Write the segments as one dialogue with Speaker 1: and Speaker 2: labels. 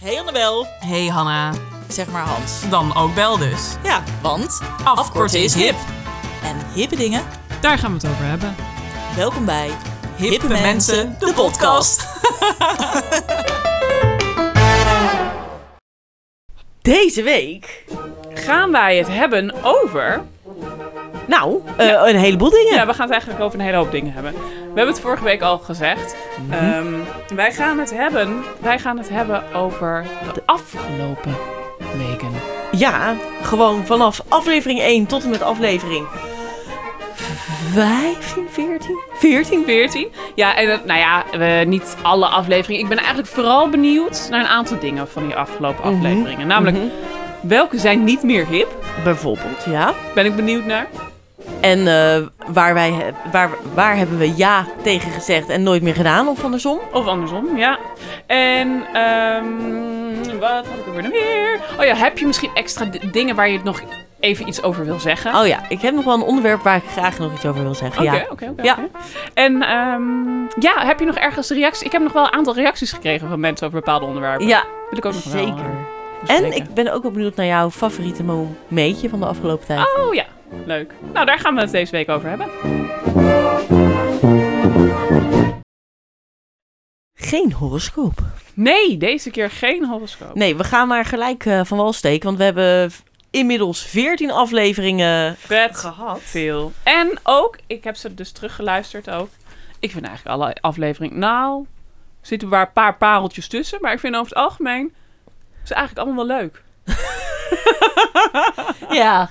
Speaker 1: Hey Annabel.
Speaker 2: Hey Hanna,
Speaker 1: Zeg maar Hans.
Speaker 2: dan ook bel dus.
Speaker 1: Ja, want
Speaker 2: Afkorten is hip.
Speaker 1: En hippe dingen.
Speaker 2: Daar gaan we het over hebben.
Speaker 1: Welkom bij Hippe,
Speaker 2: Mensen, de podcast.
Speaker 3: Deze week?
Speaker 4: gaan wij het hebben over.
Speaker 3: Nou, eh, een heleboel dingen.
Speaker 4: Ja, we gaan het eigenlijk over een hele hoop dingen hebben. We hebben het vorige week al gezegd.
Speaker 2: Mhm.
Speaker 4: Ehm, wij, gaan het hebben, wij gaan het hebben over de afgelopen weken.
Speaker 3: Ja, gewoon vanaf aflevering 1 tot en met aflevering 15, 14? 14?
Speaker 4: 14. Ja, en dat- nou ja, we, niet alle afleveringen. Ik ben eigenlijk vooral benieuwd naar een aantal dingen van die afgelopen
Speaker 2: Mhm.
Speaker 4: afleveringen. Namelijk, welke zijn niet meer hip?
Speaker 3: Bijvoorbeeld, ja.
Speaker 4: Ben ik benieuwd naar.
Speaker 3: En eh, waar, wij, he- waar, waar hebben we ja tegen gezegd en nooit meer gedaan of andersom?
Speaker 4: Of andersom, ja. En ehm, wat had ik er weer dan weer? Oh ja, heb je misschien extra d- dingen waar je het nog even iets over wil zeggen?
Speaker 3: Oh ja, ik heb nog wel een onderwerp waar ik graag nog iets over wil zeggen.
Speaker 4: Oké,
Speaker 3: ja.
Speaker 4: oké, oké.
Speaker 3: Ja.
Speaker 4: oké. En ehm, ja, heb je nog ergens reacties? Ik heb nog wel een aantal reacties gekregen van mensen over bepaalde onderwerpen.
Speaker 3: ja,
Speaker 4: Wil ik ook nog wel, eh,
Speaker 3: zeker. En
Speaker 4: bespreken.
Speaker 3: ik ben ook wel benieuwd naar jouw favoriete momentje van de afgelopen tijd.
Speaker 4: Oh ja, leuk. Nou, daar gaan we het deze week over hebben.
Speaker 3: Geen horoscoop.
Speaker 4: Nee, deze keer geen horoscoop.
Speaker 3: Nee, we gaan maar gelijk eh, van wal steken. Want we hebben v- inmiddels 14 afleveringen.
Speaker 4: Vet gehad. Veel. En ook, ik heb ze dus teruggeluisterd ook. Ik vind eigenlijk alle afleveringen... Nou, er zitten maar een paar pareltjes tussen. Maar ik vind over het algemeen... Ze eigenlijk allemaal wel leuk.
Speaker 3: Ja.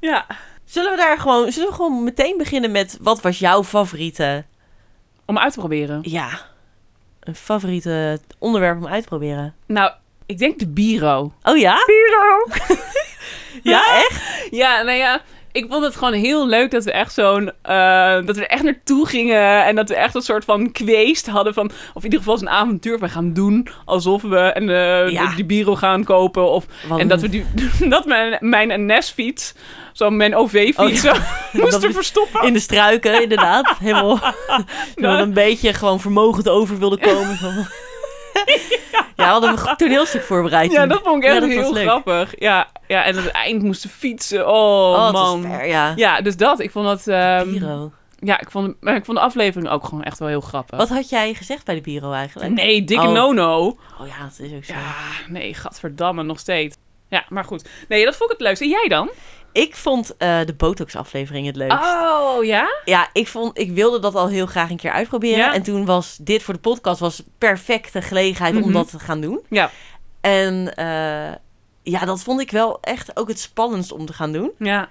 Speaker 4: Ja.
Speaker 3: zullen we daar gewoon, zullen we gewoon meteen beginnen met wat was jouw favoriete?
Speaker 4: Om uit te proberen.
Speaker 3: Ja, een favoriete onderwerp om uit te proberen.
Speaker 4: Nou, ik denk de bureau.
Speaker 3: Oh ja? Biro. ja, echt?
Speaker 4: Ja, nou ja, ik vond het gewoon heel leuk dat we echt zo'n. eh, dat we er echt naartoe gingen. En dat we echt een soort van kweest hadden van. Of in ieder geval zo'n avontuur we gaan doen. Alsof we een, eh,
Speaker 3: Ja.
Speaker 4: de, die biro gaan kopen. Of,
Speaker 3: Want-
Speaker 4: en dat we die, dat mijn, mijn NS-fiets, zo mijn OV-fiets,
Speaker 3: Oh,
Speaker 4: zo moesten
Speaker 3: we-
Speaker 4: verstoppen.
Speaker 3: In de struiken, inderdaad. Helemaal dat we een beetje gewoon vermogend over wilden komen. Van- ja, we hadden een goed toneelstuk voorbereid.
Speaker 4: Ja, dat vond ik echt
Speaker 3: Ja, dat was
Speaker 4: heel
Speaker 3: leuk.
Speaker 4: grappig. Ja, ja, en aan het eind moesten fietsen. Oh,
Speaker 3: Oh, het was
Speaker 4: man.
Speaker 3: ver, ja.
Speaker 4: Ja, dus dat. Ik vond dat. ehm,
Speaker 3: Biro.
Speaker 4: ja, ik vond, maar ik vond de aflevering ook gewoon echt wel heel grappig.
Speaker 3: Wat had jij gezegd bij de bureau eigenlijk?
Speaker 4: Nee, dikke
Speaker 3: Oh.
Speaker 4: no-no.
Speaker 3: Oh ja, dat is ook zo.
Speaker 4: Ja, nee, gadverdamme, nog steeds. Ja, maar goed. Nee, dat vond ik het leukst. En jij dan?
Speaker 3: Ik vond eh, de Botox-aflevering het leukst.
Speaker 4: Oh, ja?
Speaker 3: Ja, ik, vond, ik wilde dat al heel graag een keer uitproberen.
Speaker 4: Ja.
Speaker 3: En toen was dit voor de podcast was perfecte gelegenheid om
Speaker 4: Mhm.
Speaker 3: dat te gaan doen.
Speaker 4: Ja.
Speaker 3: En eh, ja, dat vond ik wel echt ook het spannendst om te gaan doen.
Speaker 4: Ja,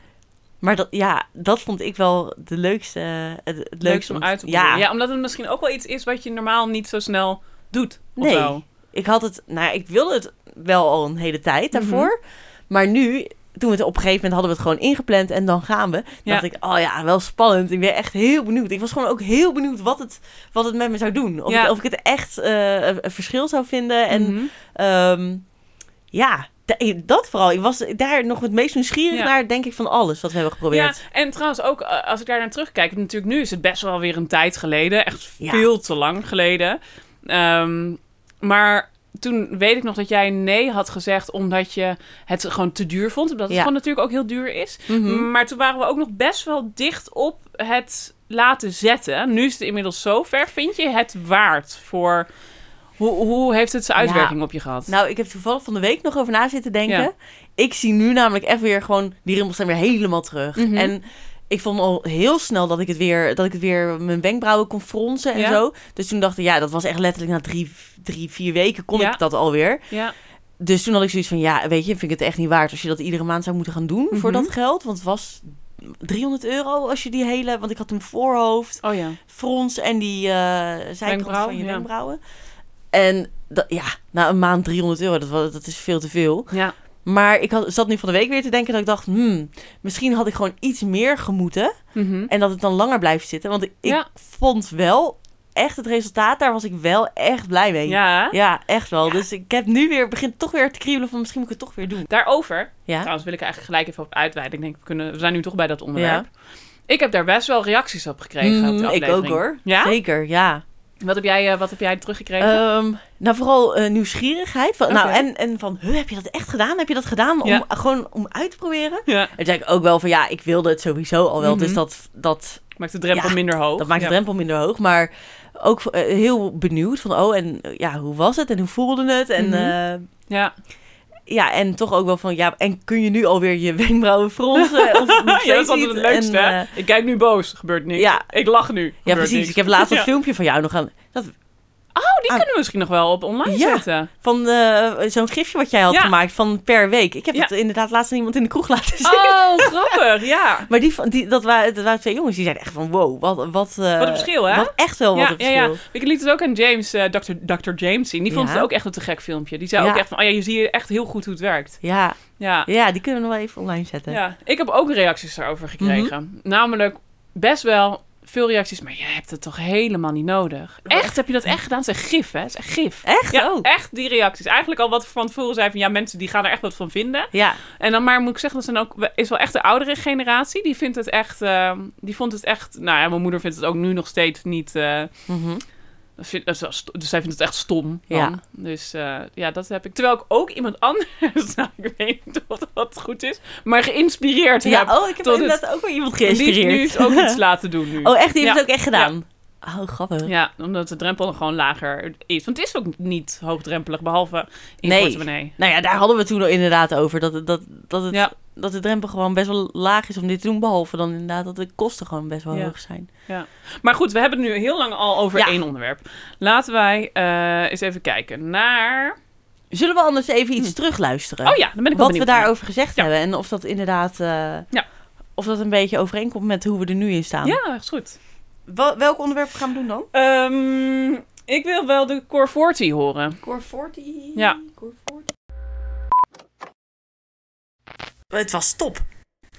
Speaker 3: Maar dat, ja, dat vond ik wel de leukste, eh, het, het
Speaker 4: leukst
Speaker 3: leukste
Speaker 4: om
Speaker 3: te-
Speaker 4: uit te
Speaker 3: ja.
Speaker 4: proberen. Ja, omdat het misschien ook wel iets is wat je normaal niet zo snel doet. of
Speaker 3: Nee.
Speaker 4: zo.
Speaker 3: Ik had het, nou, ja, ik wilde het wel al een hele tijd
Speaker 4: Mhm.
Speaker 3: daarvoor. Maar nu, toen we het op een gegeven moment hadden we het gewoon ingepland en dan gaan we.
Speaker 4: Ja.
Speaker 3: Dacht ik, oh ja, wel spannend. Ik ben echt heel benieuwd. Ik was gewoon ook heel benieuwd wat het, wat het met me zou doen. Of,
Speaker 4: Ja.
Speaker 3: het- of ik het echt eh, een een verschil zou vinden. En
Speaker 4: Mhm.
Speaker 3: ehm, ja, da- dat vooral. Ik was daar nog het meest nieuwsgierig
Speaker 4: Ja.
Speaker 3: naar, denk ik, van alles wat we hebben
Speaker 4: Ja,
Speaker 3: geprobeerd.
Speaker 4: en trouwens ook eh, als ik daar naar terugkijk, want natuurlijk nu is het best wel weer een tijd geleden, echt
Speaker 3: Ja.
Speaker 4: veel te lang geleden. Ehm, maar toen weet ik nog dat jij nee had gezegd omdat je het gewoon te duur vond, omdat het
Speaker 3: Ja.
Speaker 4: gewoon natuurlijk ook heel duur is.
Speaker 3: Mhm.
Speaker 4: Maar toen waren we ook nog best wel dicht op het laten zetten. Nu is het inmiddels zover. Vind je het waard voor hoe, hoe heeft het zijn
Speaker 3: Ja.
Speaker 4: uitwerking op je gehad?
Speaker 3: Nou, ik heb toevallig van de week nog over na zitten denken.
Speaker 4: Ja.
Speaker 3: Ik zie nu namelijk echt weer gewoon die rimpels zijn weer helemaal terug.
Speaker 4: Mhm.
Speaker 3: En ik vond al heel snel dat ik het weer dat ik het weer mijn wenkbrauwen kon fronsen en
Speaker 4: Ja.
Speaker 3: zo. Dus toen dacht ik, ja, dat was echt letterlijk na drie, drie vier weken kon
Speaker 4: Ja.
Speaker 3: ik dat alweer.
Speaker 4: ja.
Speaker 3: Dus toen had ik zoiets van, ja, weet je, vind ik het echt niet waard als je dat iedere maand zou moeten gaan doen voor
Speaker 4: Mhm.
Speaker 3: dat geld, want het was 300 euro als je die hele, want ik had toen voorhoofd
Speaker 4: Oh ja.
Speaker 3: frons en die eh zijkant
Speaker 4: Wenkbrauw,
Speaker 3: van je
Speaker 4: ja.
Speaker 3: wenkbrauwen. En dat, ja, na een maand 300 euro, dat, wa- dat is veel te veel.
Speaker 4: Ja.
Speaker 3: Maar ik had, zat nu van de week weer te denken dat ik dacht, hmm, misschien had ik gewoon iets meer gemoeten.
Speaker 4: Mhm.
Speaker 3: En dat het dan langer blijft zitten. Want ik, ik
Speaker 4: Ja.
Speaker 3: vond wel echt het resultaat, daar was ik wel echt blij mee.
Speaker 4: Ja.
Speaker 3: Ja, echt wel. Dus ik heb nu weer, begint toch weer te kriebelen van misschien moet ik het toch weer doen.
Speaker 4: Daarover
Speaker 3: Ja?
Speaker 4: Trouwens wil ik eigenlijk gelijk even op uitweiden. Ik denk, we, kunnen, we zijn nu toch bij dat onderwerp. Ik heb daar best wel reacties op gekregen. op
Speaker 3: Mm,
Speaker 4: de
Speaker 3: ik
Speaker 4: aflevering.
Speaker 3: ook hoor.
Speaker 4: Ja?
Speaker 3: Zeker, ja.
Speaker 4: Wat heb jij, eh, wat heb jij teruggekregen?
Speaker 3: Ehm, nou, vooral eh, nieuwsgierigheid. Van, Nou,
Speaker 4: Oké.
Speaker 3: en, en van, huh, heb je dat echt gedaan? Heb je dat gedaan om,
Speaker 4: Ja.
Speaker 3: gewoon om uit te proberen?
Speaker 4: ja.
Speaker 3: En toen zei ik ook wel van, ja, ik wilde het sowieso al wel. Dus
Speaker 4: Mhm.
Speaker 3: dat, dat,
Speaker 4: Maakt de drempel
Speaker 3: Ja,
Speaker 4: minder hoog.
Speaker 3: dat maakt de
Speaker 4: Ja.
Speaker 3: drempel minder hoog. Maar ook eh, heel benieuwd van, oh, en eh, ja, hoe was het? En hoe voelde het? En,
Speaker 4: Mhm.
Speaker 3: eh,
Speaker 4: Ja.
Speaker 3: ja, en toch ook wel van, ja, en kun je nu alweer je wenkbrauwen fronsen? Of nog
Speaker 4: Ja, dat is
Speaker 3: steeds
Speaker 4: altijd
Speaker 3: niet?
Speaker 4: het leukste.
Speaker 3: En,
Speaker 4: hè?
Speaker 3: eh,
Speaker 4: ik kijk nu boos, gebeurt niks.
Speaker 3: ja.
Speaker 4: Ik lach nu.
Speaker 3: ja,
Speaker 4: gebeurt
Speaker 3: precies.
Speaker 4: niks.
Speaker 3: Ik heb laatst een
Speaker 4: Ja.
Speaker 3: filmpje van jou nog aan. Dat,
Speaker 4: Oh, die kunnen we misschien nog wel op online
Speaker 3: Ja.
Speaker 4: zetten.
Speaker 3: van eh, zo'n gifje wat jij had
Speaker 4: Ja.
Speaker 3: gemaakt van per week. Ik heb
Speaker 4: Ja.
Speaker 3: het inderdaad laatst aan iemand in de kroeg laten zien.
Speaker 4: Oh, grappig. Ja.
Speaker 3: Maar die, van- die, dat, waren, dat waren twee jongens die zeiden echt van wow, wat, wat, eh,
Speaker 4: Wat een verschil, hè?
Speaker 3: Wat echt wel Oh, wat
Speaker 4: Ja,
Speaker 3: een
Speaker 4: ja,
Speaker 3: verschil.
Speaker 4: ja. Ik liet het ook aan James, eh Dr. Dr. James zien. Die vond
Speaker 3: Ja.
Speaker 4: het ook echt een te gek filmpje. Die zei
Speaker 3: Ja.
Speaker 4: ook echt van, oh ja, je ziet echt heel goed hoe het werkt.
Speaker 3: Ja.
Speaker 4: Ja.
Speaker 3: Ja, die kunnen we nog wel even online zetten.
Speaker 4: Ja, ik heb ook reacties daarover gekregen.
Speaker 3: Mhm.
Speaker 4: Namelijk best wel veel reacties, maar je hebt het toch helemaal niet nodig. Echt, heb je dat echt gedaan? Het is echt gif, hè? Het is echt gif.
Speaker 3: Echt?
Speaker 4: Ja,
Speaker 3: Oh.
Speaker 4: echt die reacties. Eigenlijk al wat we van tevoren zei van, ja, mensen die gaan er echt wat van vinden.
Speaker 3: Ja.
Speaker 4: En dan maar moet ik zeggen, dat zijn ook, is wel echt de oudere generatie. Die vindt het echt, ehm, die vond het echt, nou ja, mijn moeder vindt het ook nu nog steeds niet... eh,
Speaker 3: Mhm.
Speaker 4: dat vind, dat is wel sto- dus zij vindt het echt stom. dan.
Speaker 3: Ja.
Speaker 4: Dus eh, ja, dat heb ik. Terwijl ik ook iemand anders, nou, ik weet niet of dat goed is, maar geïnspireerd heb.
Speaker 3: ja, oh, ik heb
Speaker 4: tot
Speaker 3: inderdaad ook wel iemand
Speaker 4: Die heeft
Speaker 3: geïnspireerd.
Speaker 4: nu ook iets laten doen nu.
Speaker 3: Oh, echt? Die heeft
Speaker 4: Ja.
Speaker 3: het ook echt gedaan? Oh, grappig.
Speaker 4: Ja, omdat de drempel gewoon lager is. Want het is ook niet hoogdrempelig, behalve in
Speaker 3: Nee.
Speaker 4: je portemonnee.
Speaker 3: Nou ja, daar hadden we het toen al inderdaad over. Dat, het- dat, dat, het,
Speaker 4: Ja.
Speaker 3: dat de drempel gewoon best wel laag is om dit te doen. Behalve dan inderdaad dat de kosten gewoon best wel
Speaker 4: Ja.
Speaker 3: hoog zijn.
Speaker 4: Maar goed, we hebben het nu heel lang al over
Speaker 3: Ja.
Speaker 4: één onderwerp. Laten wij eh, eens even kijken naar...
Speaker 3: Zullen we anders even iets terugluisteren?
Speaker 4: Oh ja, dan ben ik wel
Speaker 3: wat we
Speaker 4: benieuwd.
Speaker 3: daarover gezegd
Speaker 4: Ja.
Speaker 3: hebben. En of dat inderdaad... eh,
Speaker 4: Ja.
Speaker 3: Of dat een beetje overeenkomt met hoe we er nu in staan.
Speaker 4: Ja, is goed.
Speaker 3: Wel- welk onderwerp gaan we doen dan?
Speaker 4: Ehm, ik wil wel de Core 40 horen.
Speaker 1: Core 40.
Speaker 4: Ja.
Speaker 1: Het was top.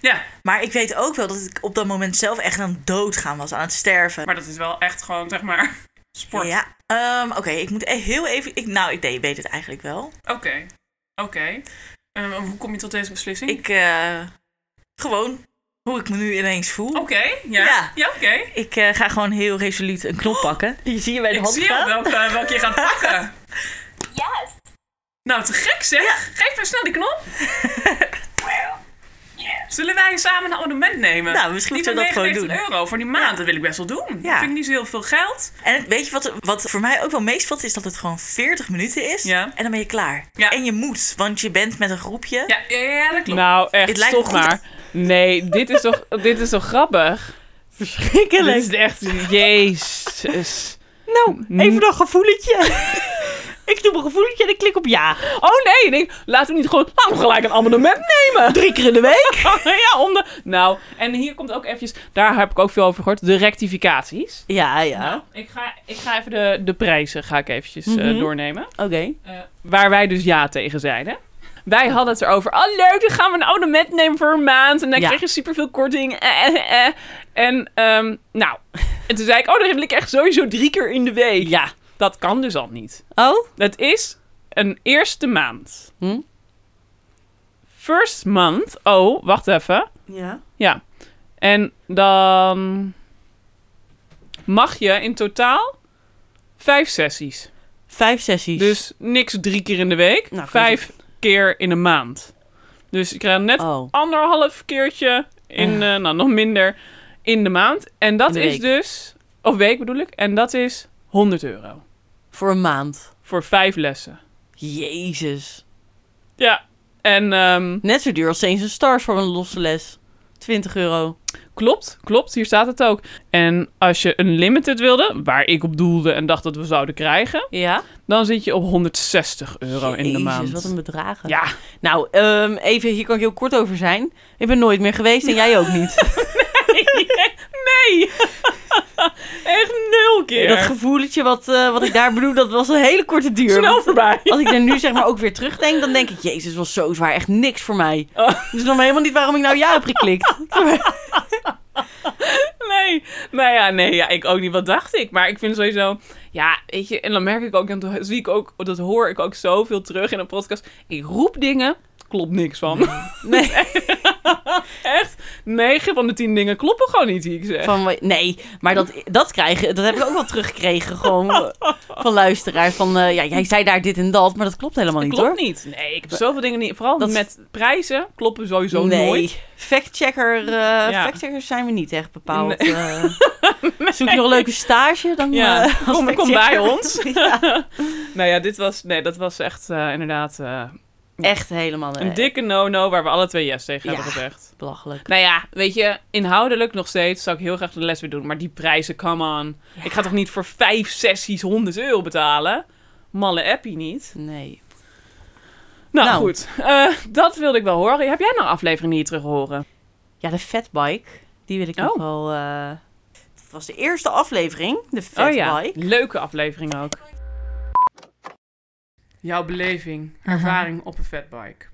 Speaker 4: Ja.
Speaker 1: Maar ik weet ook wel dat ik op dat moment zelf echt aan het doodgaan was, aan het sterven.
Speaker 4: Maar dat is wel echt gewoon, zeg maar, sport.
Speaker 1: Ja. Ehm, Oké, ik moet e- heel even... Ik, nou, ik deed, weet het eigenlijk wel.
Speaker 4: Oké, oké. Ehm, hoe kom je tot deze beslissing?
Speaker 1: Ik... eh, gewoon hoe ik me nu ineens voel.
Speaker 4: Oké, ja.
Speaker 1: Ja.
Speaker 4: Ja, oké.
Speaker 1: Ik eh, ga gewoon heel resoluut een knop pakken.
Speaker 3: Je zie je bij de
Speaker 4: Ik
Speaker 3: hand
Speaker 4: zie al
Speaker 3: gaan.
Speaker 4: welke, welke je gaat pakken. Yes! Nou, te gek zeg. Geef maar snel die knop. Zullen wij samen een abonnement nemen?
Speaker 1: Nou, misschien
Speaker 4: Die
Speaker 1: moeten we
Speaker 4: van
Speaker 1: dat gewoon
Speaker 4: 99 euro voor die maand, dat wil ik best wel doen.
Speaker 1: Ja.
Speaker 4: Dat vind ik niet zo heel veel geld.
Speaker 1: En weet je wat, wat voor mij ook wel meestvalt? Is dat het gewoon 40 minuten is.
Speaker 4: Ja.
Speaker 1: En dan ben je klaar.
Speaker 4: Ja.
Speaker 1: En je moet, want je bent met een groepje.
Speaker 4: Ja, ja, ja, dat klopt. Nou, echt,
Speaker 1: Het lijkt me stop goed. maar.
Speaker 4: Nee, dit is toch, dit is toch grappig?
Speaker 3: Verschrikkelijk.
Speaker 4: is echt... Jezus.
Speaker 3: Nou, even nog gevoeletje. ik doe mijn gevoeletje en ik klik op ja.
Speaker 4: Oh nee, nee, laten we niet gewoon nou, gelijk een abonnement nemen.
Speaker 3: Drie keer in de week.
Speaker 4: ja, om de... Nou, en hier komt ook eventjes, daar heb ik ook veel over gehoord, de rectificaties.
Speaker 3: Ja, ja.
Speaker 4: Nou, ik ga, ik ga even de, de prijzen ga ik eventjes eh,
Speaker 3: Mhm.
Speaker 4: doornemen.
Speaker 3: Oké.
Speaker 4: Eh, waar wij dus ja tegen zeiden. Wij hadden het erover. Oh leuk, dan gaan we een abonnement nemen voor een maand. En dan
Speaker 3: Ja.
Speaker 4: krijg je superveel korting. Eh, eh, eh. En ehm, nou, en toen zei ik, oh dan wil ik echt sowieso drie keer in de week. Ja, dat kan dus al niet.
Speaker 3: Oh?
Speaker 4: Het is een eerste maand.
Speaker 3: Hm?
Speaker 4: First month. Oh, wacht even.
Speaker 3: Ja.
Speaker 4: Ja. En dan mag je in totaal vijf sessies.
Speaker 3: Vijf sessies.
Speaker 4: Dus niks drie keer in de week.
Speaker 3: Nou, kan
Speaker 4: vijf keer in een maand. Dus je krijgt net
Speaker 3: Oh. Ah.
Speaker 4: anderhalf keertje in, eh, nou nog minder, in de maand. En dat
Speaker 3: In de
Speaker 4: is
Speaker 3: week.
Speaker 4: dus, of week bedoel ik, en dat is 100 euro.
Speaker 3: Voor een maand.
Speaker 4: Voor vijf lessen.
Speaker 3: Jezus.
Speaker 4: Ja. En ehm,
Speaker 3: Net zo duur als Saints and Stars voor een losse les. 20 euro.
Speaker 4: Klopt, klopt. Hier staat het ook. En als je een limited wilde, waar ik op doelde en dacht dat we zouden krijgen,
Speaker 3: Ja?
Speaker 4: dan zit je op 160 euro in de
Speaker 3: Jezus,
Speaker 4: maand.
Speaker 3: wat een bedragen.
Speaker 4: Ja,
Speaker 3: Nou, ehm, even, hier kan ik heel kort over zijn. Ik ben nooit meer geweest en jij ook niet.
Speaker 4: nee! Echt nul keer.
Speaker 3: Dat gevoeletje wat, eh, wat ik daar bedoel, dat was een hele korte duur.
Speaker 4: Snel voorbij.
Speaker 3: Als ik er nu zeg maar ook weer terugdenk, dan denk ik, jezus, was zo zwaar. Echt niks voor mij.
Speaker 4: Oh.
Speaker 3: Dus dan helemaal niet waarom ik nou ja heb geklikt.
Speaker 4: Nee, nou ja, nee, ja, ik ook niet. Wat dacht ik? Maar ik vind sowieso, ja, weet je, en dan merk ik ook, en dan zie ik ook, dat hoor ik ook zoveel terug in een podcast. Ik roep dingen, klopt niks van.
Speaker 3: Nee.
Speaker 4: Echt, 9 van de 10 dingen kloppen gewoon niet die ik zeg.
Speaker 3: Van, wa- nee, maar dat, dat, krijgen, dat heb ik ook wel teruggekregen gewoon van luisteraars. Van, eh, ja, jij zei daar dit en dat, maar dat klopt helemaal niet
Speaker 4: klopt
Speaker 3: hoor.
Speaker 4: niet. Nee, ik heb zoveel dingen niet. Vooral
Speaker 3: Dat-
Speaker 4: met prijzen kloppen sowieso nooit.
Speaker 3: Factchecker, eh,
Speaker 4: Ja.
Speaker 3: factcheckers zijn we niet echt bepaald.
Speaker 4: Nee.
Speaker 3: eh. Zoek je nog een leuke stage, dan
Speaker 4: Ja,
Speaker 3: eh, als
Speaker 4: kom- kom
Speaker 3: factchecker.
Speaker 4: bij ons.
Speaker 3: Ja,
Speaker 4: Nou ja, dit was, nee, dat was echt eh, inderdaad eh,
Speaker 3: echt helemaal nee.
Speaker 4: een dikke no-no waar we alle twee yes tegen
Speaker 3: Ja.
Speaker 4: hebben gezegd.
Speaker 3: belachelijk.
Speaker 4: Nou ja, weet je, inhoudelijk nog steeds zou ik heel graag de les weer doen. Maar die prijzen, come on. Ik ga toch niet voor vijf sessies 100 euro betalen? Malle appie niet.
Speaker 3: Nee.
Speaker 4: Nou,
Speaker 3: Nou.
Speaker 4: goed, Eh, dat wilde ik wel horen. Heb jij nou aflevering die je terug horen?
Speaker 3: Ja, de fatbike, die wil ik nog
Speaker 4: Oh.
Speaker 3: wel... eh, dat was de eerste aflevering, de fatbike.
Speaker 4: oh ja, leuke aflevering ook. Jouw beleving, ervaring op een fatbike.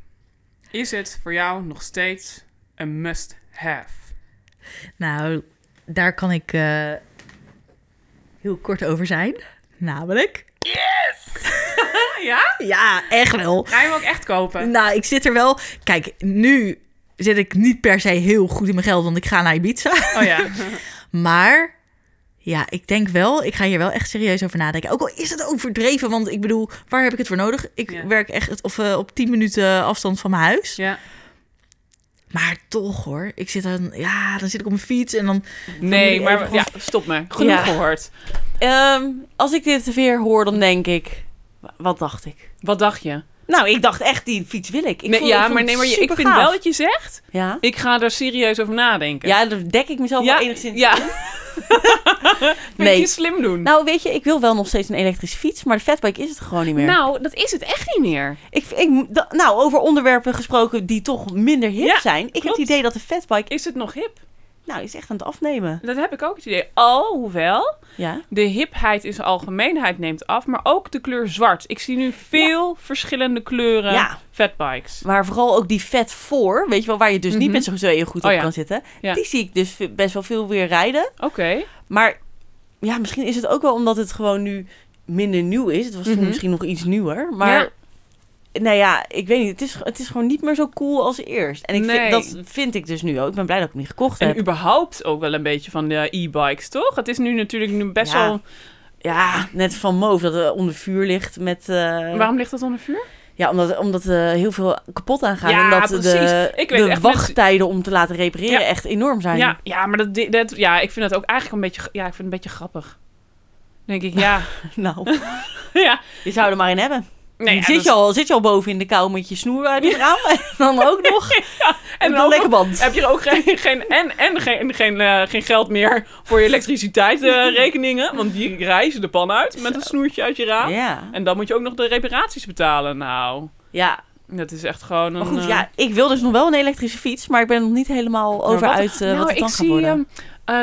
Speaker 4: Is het voor jou nog steeds een must-have?
Speaker 1: Nou, daar kan ik eh, heel kort over zijn. Namelijk.
Speaker 4: Ja?
Speaker 1: Ja, echt wel.
Speaker 4: Ga je hem ook echt kopen?
Speaker 1: Nou, ik zit er wel. Kijk, nu zit ik niet per se heel goed in mijn geld, want ik ga naar Ibiza.
Speaker 4: Oh ja.
Speaker 1: Maar ja, ik denk wel, ik ga hier wel echt serieus over nadenken. Ook al is het overdreven, want ik bedoel, waar heb ik het voor nodig? Ik
Speaker 4: Ja.
Speaker 1: werk echt of, eh, op 10 minuten afstand van mijn huis.
Speaker 4: ja.
Speaker 1: Maar toch hoor, ik zit dan, ja, dan zit ik op mijn fiets en dan.
Speaker 4: Nee,
Speaker 1: Even
Speaker 4: maar
Speaker 1: van-
Speaker 4: ja, stop me. Genoeg
Speaker 3: Ja.
Speaker 4: gehoord.
Speaker 3: Ehm, als ik dit weer hoor, dan denk ik... wa- Wat dacht ik?
Speaker 4: Wat dacht je?
Speaker 3: Nou, ik dacht echt, die fiets wil ik. ik
Speaker 4: Nee,
Speaker 3: vond- ik
Speaker 4: ja,
Speaker 3: vond
Speaker 4: maar
Speaker 3: het
Speaker 4: nee, maar je- ik vind
Speaker 3: supergaaf.
Speaker 4: wel dat je zegt.
Speaker 3: Ja?
Speaker 4: Ik ga daar serieus over nadenken.
Speaker 3: ja, dan dek ik mezelf
Speaker 4: ja,
Speaker 3: wel enigszins.
Speaker 4: ja. Vind
Speaker 3: Nee.
Speaker 4: je slim doen?
Speaker 3: Nou, weet je, ik wil wel nog steeds een elektrische fiets, maar de fatbike is het gewoon niet meer.
Speaker 4: Nou, dat is het echt niet meer.
Speaker 3: ik, ik, da- nou over onderwerpen gesproken die toch minder hip
Speaker 4: Ja,
Speaker 3: zijn. Ik heb
Speaker 4: klopt.
Speaker 3: het idee dat de fatbike,
Speaker 4: Is het nog hip?
Speaker 3: nou, is echt aan het afnemen.
Speaker 4: Dat heb ik ook het idee. Alhoewel,
Speaker 3: Ja.
Speaker 4: de hipheid in zijn algemeenheid neemt af, maar ook de kleur zwart. Ik zie nu veel verschillende kleuren
Speaker 3: Ja.
Speaker 4: fatbikes.
Speaker 3: Maar vooral ook die vet voor, weet je wel, waar je dus niet
Speaker 4: Mhm.
Speaker 3: met z'n tweeën goed op
Speaker 4: Oh ja.
Speaker 3: kan zitten.
Speaker 4: Ja.
Speaker 3: Die zie ik dus v- best wel veel weer rijden.
Speaker 4: Oké.
Speaker 3: Maar ja, misschien is het ook wel omdat het gewoon nu minder nieuw is. Het was toen
Speaker 4: Mhm.
Speaker 3: misschien nog iets nieuwer, maar... Nou ja, ik weet niet. Het is, het is gewoon niet meer zo cool als eerst. En ik
Speaker 4: Nee.
Speaker 3: vind, dat vind ik dus nu ook. Ik ben blij dat ik hem niet gekocht heb.
Speaker 4: En überhaupt ook wel een beetje van de e-bikes, toch? Het is nu natuurlijk nu best
Speaker 3: Ja.
Speaker 4: wel...
Speaker 3: Ja, net van Moof dat er onder vuur ligt met... eh,
Speaker 4: Waarom ligt dat onder vuur?
Speaker 3: Ja, omdat, omdat eh, heel veel kapot aangaan.
Speaker 4: Ja,
Speaker 3: en dat de,
Speaker 4: precies. Ik weet
Speaker 3: de
Speaker 4: echt met-
Speaker 3: wachttijden om te laten repareren
Speaker 4: Ja.
Speaker 3: echt enorm zijn.
Speaker 4: Ja, ja maar dat, dat, ja, ik vind dat ook eigenlijk een beetje, ja, ik vind het een beetje grappig. Dan denk ik, ja.
Speaker 3: Nou,
Speaker 4: ja.
Speaker 3: je zou er maar in hebben.
Speaker 4: Nee, ja, dus-
Speaker 3: zit,
Speaker 4: dat-
Speaker 3: je al, zit je al boven in de kou met je snoer uit het raam? En dan ook nog
Speaker 4: en
Speaker 3: een
Speaker 4: dan
Speaker 3: lekker band.
Speaker 4: heb je ook geen, geen, en, en geen, geen, eh, geen geld meer voor je elektriciteitsrekeningen. want die reizen de pan uit met een snoertje uit je raam.
Speaker 3: Ja.
Speaker 4: En dan moet je ook nog de reparaties betalen. Nou,
Speaker 3: ja,
Speaker 4: dat is echt gewoon een...
Speaker 3: maar goed,
Speaker 4: eh,
Speaker 3: ja, ik wil dus nog wel een elektrische fiets, maar ik ben er nog niet helemaal over
Speaker 4: Maar
Speaker 3: uit eh,
Speaker 4: nou,
Speaker 3: wat het
Speaker 4: ik
Speaker 3: dan gaat
Speaker 4: zie
Speaker 3: worden.
Speaker 4: ehm,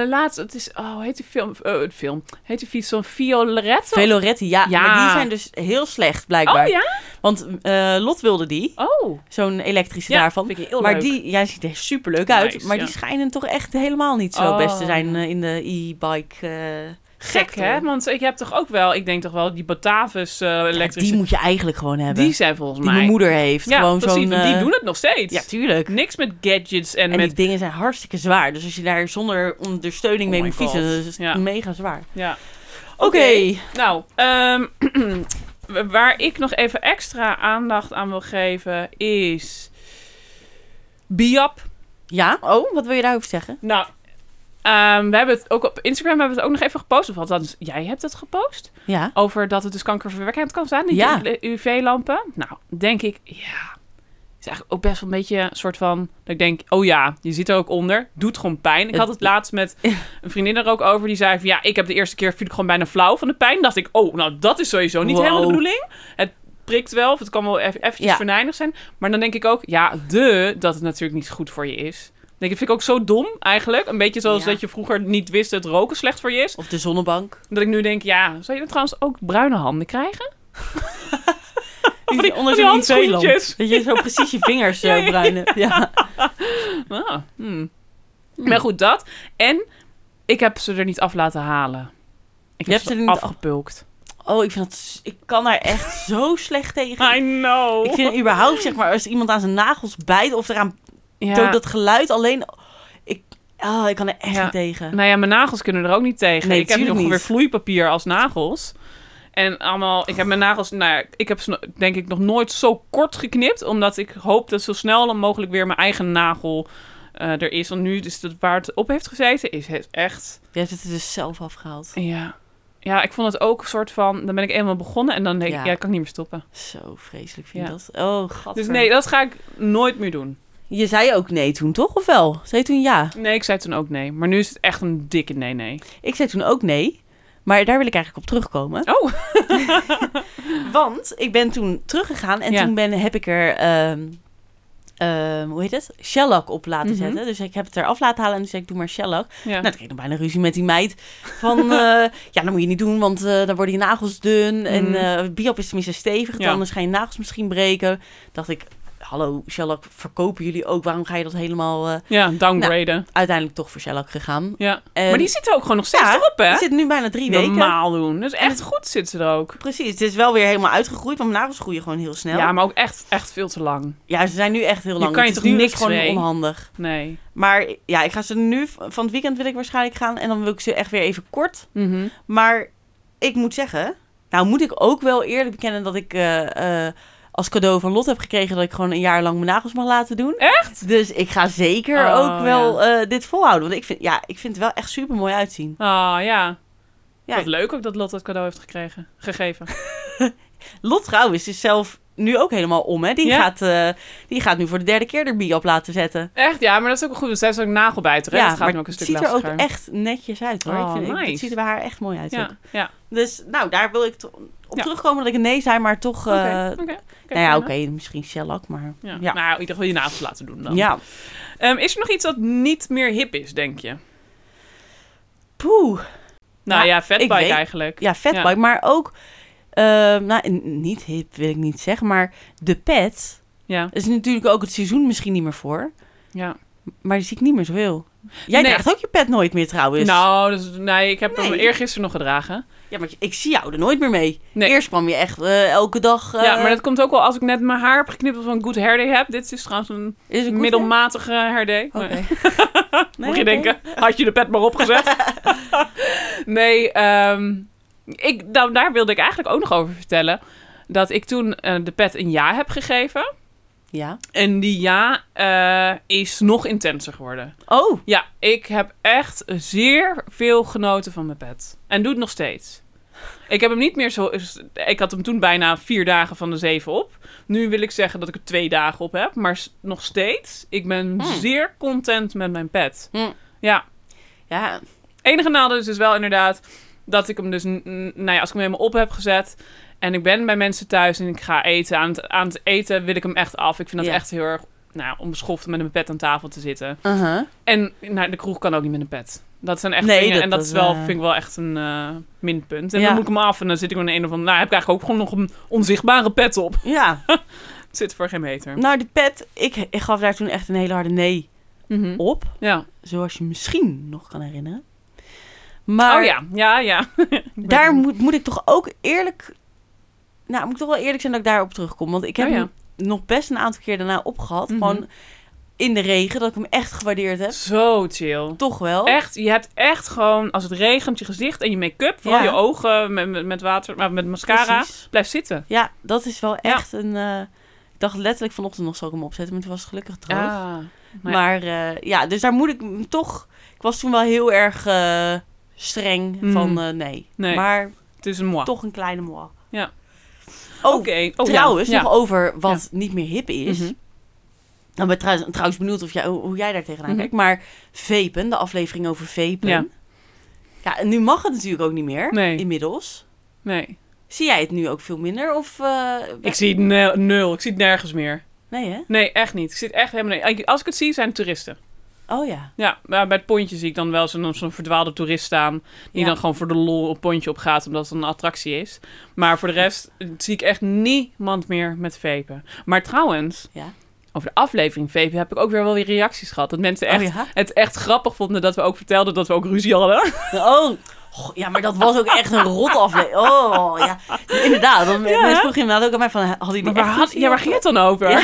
Speaker 4: eh, laatst, het is, oh, hoe heet die film, Eh, het film, heet die fiets zo'n Violetto?
Speaker 3: Veloretti, ja,
Speaker 4: Ja.
Speaker 3: maar die zijn dus heel slecht blijkbaar.
Speaker 4: oh ja?
Speaker 3: Want eh, Lot wilde die,
Speaker 4: Oh.
Speaker 3: zo'n elektrische
Speaker 4: Ja,
Speaker 3: daarvan.
Speaker 4: vind ik heel
Speaker 3: maar
Speaker 4: leuk.
Speaker 3: die, jij ziet er superleuk uit,
Speaker 4: Nice,
Speaker 3: maar
Speaker 4: ja.
Speaker 3: die schijnen toch echt helemaal niet zo
Speaker 4: Oh.
Speaker 3: best te zijn eh, in de e-bike. eh,
Speaker 4: Gek
Speaker 3: sector.
Speaker 4: hè, want ik heb toch ook wel, ik denk toch wel, die Batavus eh elektrische...
Speaker 3: die moet je eigenlijk gewoon hebben.
Speaker 4: die zijn volgens
Speaker 3: Die
Speaker 4: mij...
Speaker 3: mijn moeder heeft.
Speaker 4: ja,
Speaker 3: gewoon
Speaker 4: precies,
Speaker 3: zo'n.
Speaker 4: want die
Speaker 3: eh,
Speaker 4: doen het nog steeds.
Speaker 3: Ja, tuurlijk.
Speaker 4: Niks met gadgets en,
Speaker 3: En
Speaker 4: met...
Speaker 3: die dingen zijn hartstikke zwaar. Dus als je daar zonder ondersteuning mee
Speaker 4: Oh my
Speaker 3: moet fietsen,
Speaker 4: God.
Speaker 3: dat is
Speaker 4: Ja.
Speaker 3: mega zwaar.
Speaker 4: Ja.
Speaker 3: Oké.
Speaker 4: Nou, ehm, waar ik nog even extra aandacht aan wil geven is... Biap.
Speaker 3: Ja? Oh, wat wil je daarover zeggen?
Speaker 4: Nou, ehm, we hebben het ook op Instagram hebben we het ook nog even gepost. Of althans, jij hebt het gepost.
Speaker 3: Ja.
Speaker 4: Over dat het dus kankerverwekkend kan zijn, die
Speaker 3: Ja.
Speaker 4: UV-lampen. Nou, denk ik, ja. is eigenlijk ook best wel een beetje een soort van... Dat ik denk, oh ja, je zit er ook onder. Doet gewoon pijn. Ik had het laatst met een vriendin er ook over. Die zei van, ja, ik heb de eerste keer... viel ik gewoon bijna flauw van de pijn. dacht ik, oh, nou, dat is sowieso niet
Speaker 3: Wow.
Speaker 4: helemaal de bedoeling. Het prikt wel, of het kan wel even, eventjes
Speaker 3: Ja.
Speaker 4: venijnig zijn. Maar dan denk ik ook, ja, de... Dat het natuurlijk niet goed voor je is. Ik Denk, ik vind ik ook zo dom eigenlijk. Een beetje zoals
Speaker 3: Ja.
Speaker 4: dat je vroeger niet wist dat roken slecht voor je is.
Speaker 3: Of de zonnebank.
Speaker 4: Dat ik nu denk, ja, zou je dan trouwens ook bruine handen krijgen?
Speaker 3: Die,
Speaker 4: die-
Speaker 3: onder
Speaker 4: van
Speaker 3: zo'n
Speaker 4: die
Speaker 3: IC-lamp.
Speaker 4: handschoentjes.
Speaker 3: Dat je zo precies je vingers eh, bruinen. Ja.
Speaker 4: Ah, hmm. Maar goed, dat. En ik heb ze er niet af laten halen. Ik
Speaker 3: Je hebt
Speaker 4: heb ze
Speaker 3: ze er niet af-
Speaker 4: afgepulkt.
Speaker 3: Oh, ik vind dat... s- Ik kan daar echt zo slecht tegen.
Speaker 4: I know.
Speaker 3: Ik vind überhaupt, zeg maar, als iemand aan zijn nagels bijt of eraan
Speaker 4: ja.
Speaker 3: Doe dat geluid alleen. Oh, ik kan er echt
Speaker 4: Ja.
Speaker 3: niet tegen.
Speaker 4: Nou ja, mijn nagels kunnen er ook niet tegen.
Speaker 3: Nee,
Speaker 4: ik heb nog
Speaker 3: tuurlijk
Speaker 4: weer
Speaker 3: niet.
Speaker 4: vloeipapier als nagels. En allemaal, ik heb mijn nagels, nou ja, ik heb ze no- denk ik nog nooit zo kort geknipt. Omdat ik hoop dat zo snel mogelijk weer mijn eigen nagel eh, er is. Want nu is het waar het op heeft gezeten, is het echt...
Speaker 3: Je hebt het er dus zelf afgehaald.
Speaker 4: Ja. Ja, ik vond het ook een soort van... Dan ben ik eenmaal begonnen en dan denk ik...
Speaker 3: Ja.
Speaker 4: Ja, kan ik niet meer stoppen.
Speaker 3: Zo vreselijk vind ik
Speaker 4: Ja.
Speaker 3: dat. Oh, god.
Speaker 4: Dus nee, dat ga ik nooit meer doen.
Speaker 3: Je zei ook nee toen, toch? Of wel? Zei je toen ja?
Speaker 4: Nee, ik zei toen ook nee. Maar nu is het echt een dikke nee-nee.
Speaker 3: Ik zei toen ook nee. Maar daar wil ik eigenlijk op terugkomen.
Speaker 4: Oh,
Speaker 3: Want ik ben toen teruggegaan en
Speaker 4: Ja.
Speaker 3: toen ben, heb ik er, ehm, ehm, hoe heet het? Shellac op laten
Speaker 4: Mhm.
Speaker 3: zetten. Dus ik heb het eraf laten halen en toen zei ik, doe maar shellac.
Speaker 4: ja.
Speaker 3: Nou, dan kreeg ik nog bijna ruzie met die meid. Van, eh, ja, dat moet je niet doen, want eh, dan worden je nagels dun. En
Speaker 4: Mhm.
Speaker 3: eh biop is tenminste stevig,
Speaker 4: Ja.
Speaker 3: anders gaan je nagels misschien breken. dacht ik, hallo, shellac verkopen jullie ook. Waarom ga je dat helemaal... eh,
Speaker 4: ja, downgraden.
Speaker 3: uiteindelijk toch voor shellac gegaan.
Speaker 4: ja.
Speaker 3: En
Speaker 4: maar die zit er ook gewoon nog steeds
Speaker 3: eh, Ja,
Speaker 4: erop, hè?
Speaker 3: die zit nu bijna drie weken.
Speaker 4: Normaal doen. Dus echt goed zit ze er ook.
Speaker 3: Precies, het is wel weer helemaal uitgegroeid, want mijn nagels groeien gewoon heel snel.
Speaker 4: Ja, maar ook echt, echt veel te lang.
Speaker 3: Ja, ze zijn nu echt heel
Speaker 4: Je
Speaker 3: lang.
Speaker 4: kan je
Speaker 3: Het is
Speaker 4: toch
Speaker 3: nu
Speaker 4: niks
Speaker 3: gewoon
Speaker 4: mee?
Speaker 3: onhandig.
Speaker 4: Nee.
Speaker 3: Maar ja, ik ga ze nu van het weekend wil ik waarschijnlijk gaan en dan wil ik ze echt weer even kort.
Speaker 4: Mhm.
Speaker 3: Maar ik moet zeggen, nou moet ik ook wel eerlijk bekennen dat ik eh, eh, als cadeau van Lot heb gekregen dat ik gewoon een jaar lang mijn nagels mag laten doen. Echt? Dus ik ga zeker
Speaker 4: Oh,
Speaker 3: ook wel eh, dit volhouden, want ik vind, ja, ik vind het wel echt super mooi uitzien.
Speaker 4: Ah, ja.
Speaker 3: Ja.
Speaker 4: Wat leuk ook dat Lot dat cadeau heeft gekregen. Gegeven.
Speaker 3: Lot trouwens is zelf nu ook helemaal om, hè? Die,
Speaker 4: Ja.
Speaker 3: gaat, eh, die gaat nu voor de derde keer de bier op laten zetten.
Speaker 4: Echt, ja, maar dat is ook wel goed. Want zij is ook nagelbijter, hè? dat gaat
Speaker 3: maar
Speaker 4: nu ook een stuk
Speaker 3: het ziet er ook
Speaker 4: lastiger.
Speaker 3: echt netjes uit, hoor.
Speaker 4: Oh,
Speaker 3: ik vind, ik-
Speaker 4: nice.
Speaker 3: Het ziet er bij haar echt mooi uit. ook.
Speaker 4: Ja, ja.
Speaker 3: Dus nou, daar wil ik to- op
Speaker 4: Ja.
Speaker 3: terugkomen dat ik een nee zei, maar toch... eh,
Speaker 4: Oké, oké.
Speaker 3: nou ja,
Speaker 4: prima.
Speaker 3: oké, misschien shellac, maar...
Speaker 4: Ja.
Speaker 3: Ja.
Speaker 4: Nou, in ieder geval je nagels laten doen dan.
Speaker 3: Ja.
Speaker 4: Ehm, is er nog iets dat niet meer hip is, denk je? Nou
Speaker 3: Poeh. Nou
Speaker 4: ja,
Speaker 3: Ja,
Speaker 4: fatbike
Speaker 3: ik weet-
Speaker 4: eigenlijk.
Speaker 3: Ja, vetbike, maar ook... ehm, nou, n- niet hip wil ik niet zeggen, maar de pet...
Speaker 4: Ja,
Speaker 3: Er is natuurlijk ook het seizoen misschien niet meer voor,
Speaker 4: ja.
Speaker 3: maar die zie ik niet meer zoveel. Jij
Speaker 4: Nee.
Speaker 3: draagt ook je pet nooit meer trouwens.
Speaker 4: Nou, dus, nee, ik heb hem
Speaker 3: Nee.
Speaker 4: eergisteren nog gedragen.
Speaker 3: Ja, maar ik zie jou er nooit meer mee.
Speaker 4: Nee.
Speaker 3: Eerst kwam je echt eh, elke dag... eh,
Speaker 4: ja, maar dat komt ook wel als ik net mijn haar heb geknipt of een good hair day heb. Dit is trouwens een
Speaker 3: is een goed
Speaker 4: middelmatige hair day.
Speaker 3: idee? Oké.
Speaker 4: Maar-
Speaker 3: Nee,
Speaker 4: Mocht je
Speaker 3: oké.
Speaker 4: denken, had je de pet maar opgezet? nee, ehm, ik, nou, daar wilde ik eigenlijk ook nog over vertellen. Dat ik toen eh, de pet een ja heb gegeven.
Speaker 3: Ja.
Speaker 4: En die ja eh, is nog intenser geworden.
Speaker 3: Oh,
Speaker 4: Ja, ik heb echt zeer veel genoten van mijn pet. En doe het nog steeds. Ik heb hem niet meer zo. Ik had hem toen bijna vier dagen van de zeven op. Nu wil ik zeggen dat ik er twee dagen op heb. Maar s- nog steeds, ik ben zeer content met mijn pet.
Speaker 3: Hmm.
Speaker 4: Ja,
Speaker 3: ja.
Speaker 4: enige nadeel is dus wel inderdaad dat ik hem dus, n- n- nou ja, als ik hem helemaal op heb gezet en ik ben bij mensen thuis en ik ga eten, aan het, aan het eten wil ik hem echt af. Ik vind dat
Speaker 3: Ja.
Speaker 4: echt heel erg, nou, onbeschoft met een pet aan tafel te zitten.
Speaker 3: Uh-huh.
Speaker 4: En nou, de kroeg kan ook niet met een pet. Dat zijn echt
Speaker 3: Nee,
Speaker 4: dingen.
Speaker 3: dat-
Speaker 4: en dat
Speaker 3: dat
Speaker 4: is wel,
Speaker 3: is, eh,
Speaker 4: vind ik wel echt een eh, minpunt. En
Speaker 3: Ja.
Speaker 4: dan moet ik hem af en dan zit ik met een, een of andere... Nou, heb ik eigenlijk ook gewoon nog een onzichtbare pet op.
Speaker 3: Ja.
Speaker 4: Het zit voor geen meter.
Speaker 3: Nou, die pet, ik, ik gaf daar toen echt een hele harde nee
Speaker 4: Mhm.
Speaker 3: op.
Speaker 4: Ja.
Speaker 3: Zoals je misschien nog kan herinneren. Maar
Speaker 4: oh ja, ja, ja.
Speaker 3: daar moet, moet ik toch ook eerlijk... Nou, moet ik toch wel eerlijk zijn dat ik daarop terugkom. Want ik heb
Speaker 4: Oh ja.
Speaker 3: hem nog best een aantal keer daarna opgehad.
Speaker 4: Mhm.
Speaker 3: Gewoon in de regen, dat ik hem echt gewaardeerd heb.
Speaker 4: Zo chill.
Speaker 3: Toch wel.
Speaker 4: Echt, je hebt echt gewoon, als het regent, je gezicht en je make-up, vooral
Speaker 3: Ja.
Speaker 4: je ogen met, met, met water, maar met mascara,
Speaker 3: Precies.
Speaker 4: blijf zitten.
Speaker 3: Ja, dat is wel echt een... eh, ik dacht letterlijk vanochtend nog zal ik hem opzetten, maar toen was het gelukkig
Speaker 4: Ah,
Speaker 3: droog.
Speaker 4: nou Maar-
Speaker 3: Maar eh, ja, dus daar moet ik m- toch. Ik was toen wel heel erg eh, streng
Speaker 4: Mm.
Speaker 3: van eh, nee.
Speaker 4: Nee.
Speaker 3: Maar
Speaker 4: Het is een moi.
Speaker 3: toch een kleine moi.
Speaker 4: Ja.
Speaker 3: Oh,
Speaker 4: Oké. Oh, ja.
Speaker 3: trouwens,
Speaker 4: Ja.
Speaker 3: nog over wat niet meer hip is.
Speaker 4: Mhm.
Speaker 3: Dan ben ik trouwens, trouwens benieuwd of jij, hoe, hoe jij daar tegenaan
Speaker 4: Mhm.
Speaker 3: kijkt. Maar vapen, de aflevering over vapen.
Speaker 4: Ja.
Speaker 3: Ja. en nu mag het natuurlijk ook niet meer.
Speaker 4: Nee.
Speaker 3: Inmiddels.
Speaker 4: Nee.
Speaker 3: Zie jij het nu ook veel minder? Of, eh,
Speaker 4: Ik zie het ne- nul, ik zie het nergens meer.
Speaker 3: Nee, hè?
Speaker 4: Nee, echt niet. Ik zit echt helemaal... nee. Als ik het zie, zijn het toeristen.
Speaker 3: Oh ja.
Speaker 4: Ja, maar bij het pontje zie ik dan wel zo'n zo'n verdwaalde toerist staan. Die
Speaker 3: Ja.
Speaker 4: dan gewoon voor de lol op pontje op gaat, omdat het een attractie is. Maar voor de rest eh, zie ik echt niemand meer met vapen. Maar trouwens,
Speaker 3: Ja.
Speaker 4: over de aflevering vapen heb ik ook weer wel weer reacties gehad. Dat mensen echt,
Speaker 3: Oh ja?
Speaker 4: het echt grappig vonden dat we ook vertelden dat we ook ruzie hadden.
Speaker 3: Oh, Goh, ja, maar dat was ook echt een rot aflevering. Oh, ja. Inderdaad. Want
Speaker 4: Ja,
Speaker 3: mensen
Speaker 4: hè?
Speaker 3: vroegen inderdaad ook aan mij van, had hij
Speaker 4: Maar waar, had, ja, waar ging het dan over?
Speaker 3: Ja.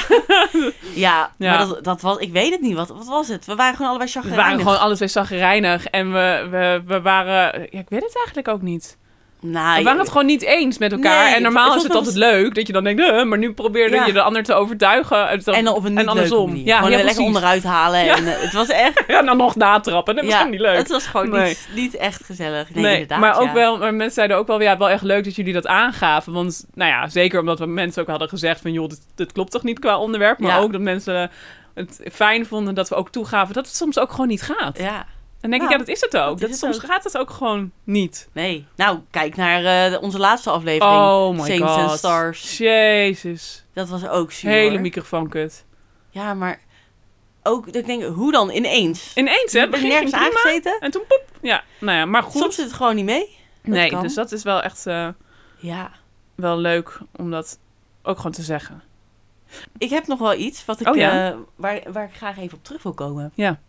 Speaker 3: Ja,
Speaker 4: Ja.
Speaker 3: maar dat, dat was... Ik weet het niet. Wat, wat was het? We waren gewoon allebei
Speaker 4: We
Speaker 3: chagrijnig.
Speaker 4: waren gewoon alle twee zagrijnig en we, we, we waren... Ja, ik weet het eigenlijk ook niet.
Speaker 3: Nou,
Speaker 4: We waren het gewoon niet eens met elkaar.
Speaker 3: Nee,
Speaker 4: en normaal
Speaker 3: het
Speaker 4: is
Speaker 3: was
Speaker 4: het altijd leuk dat je dan denkt... eh, maar nu probeerde
Speaker 3: Ja.
Speaker 4: je de ander te overtuigen. En, dan-
Speaker 3: en dan op een niet
Speaker 4: en andersom.
Speaker 3: leuke manier.
Speaker 4: Ja,
Speaker 3: gewoon
Speaker 4: ja,
Speaker 3: er lekker
Speaker 4: precies.
Speaker 3: onderuit halen. En, eh, het was echt...
Speaker 4: En dan nog natrappen. Dat is
Speaker 3: ja,
Speaker 4: gewoon niet leuk.
Speaker 3: Het was gewoon
Speaker 4: Nee.
Speaker 3: niet, niet echt gezellig. Nee,
Speaker 4: Nee,
Speaker 3: inderdaad.
Speaker 4: maar ook
Speaker 3: ja.
Speaker 4: wel, maar mensen zeiden ook wel, ja, wel echt leuk dat jullie dat aangaven. Want, nou ja, zeker omdat we mensen ook hadden gezegd van, joh, dit, dit klopt toch niet qua onderwerp. Maar
Speaker 3: Ja.
Speaker 4: ook dat mensen het fijn vonden dat we ook toegaven dat het soms ook gewoon niet gaat.
Speaker 3: Ja,
Speaker 4: Dan denk
Speaker 3: Ja,
Speaker 4: ik, ja, dat is het ook.
Speaker 3: is
Speaker 4: Dat
Speaker 3: het
Speaker 4: soms
Speaker 3: ook.
Speaker 4: gaat het ook gewoon niet.
Speaker 3: nee. Nou, kijk naar eh, onze laatste aflevering.
Speaker 4: Oh my
Speaker 3: Saints
Speaker 4: god.
Speaker 3: and Stars.
Speaker 4: Jezus.
Speaker 3: Dat was ook zuur.
Speaker 4: Hele
Speaker 3: hoor.
Speaker 4: microfoon kut.
Speaker 3: Ja, maar ook... dat Ik denk, hoe dan? Ineens?
Speaker 4: Ineens, hè?
Speaker 3: Ik ben
Speaker 4: begin
Speaker 3: je nergens
Speaker 4: ging prima.
Speaker 3: aangezeten.
Speaker 4: En toen poep. Ja, nou ja, maar goed.
Speaker 3: Soms zit het gewoon niet mee.
Speaker 4: nee,
Speaker 3: kan.
Speaker 4: dus dat is wel echt eh,
Speaker 3: Ja.
Speaker 4: wel leuk om dat ook gewoon te zeggen.
Speaker 3: Ik heb nog wel iets wat ik,
Speaker 4: Oh ja?
Speaker 3: eh, waar, waar ik graag even op terug wil komen.
Speaker 4: Ja.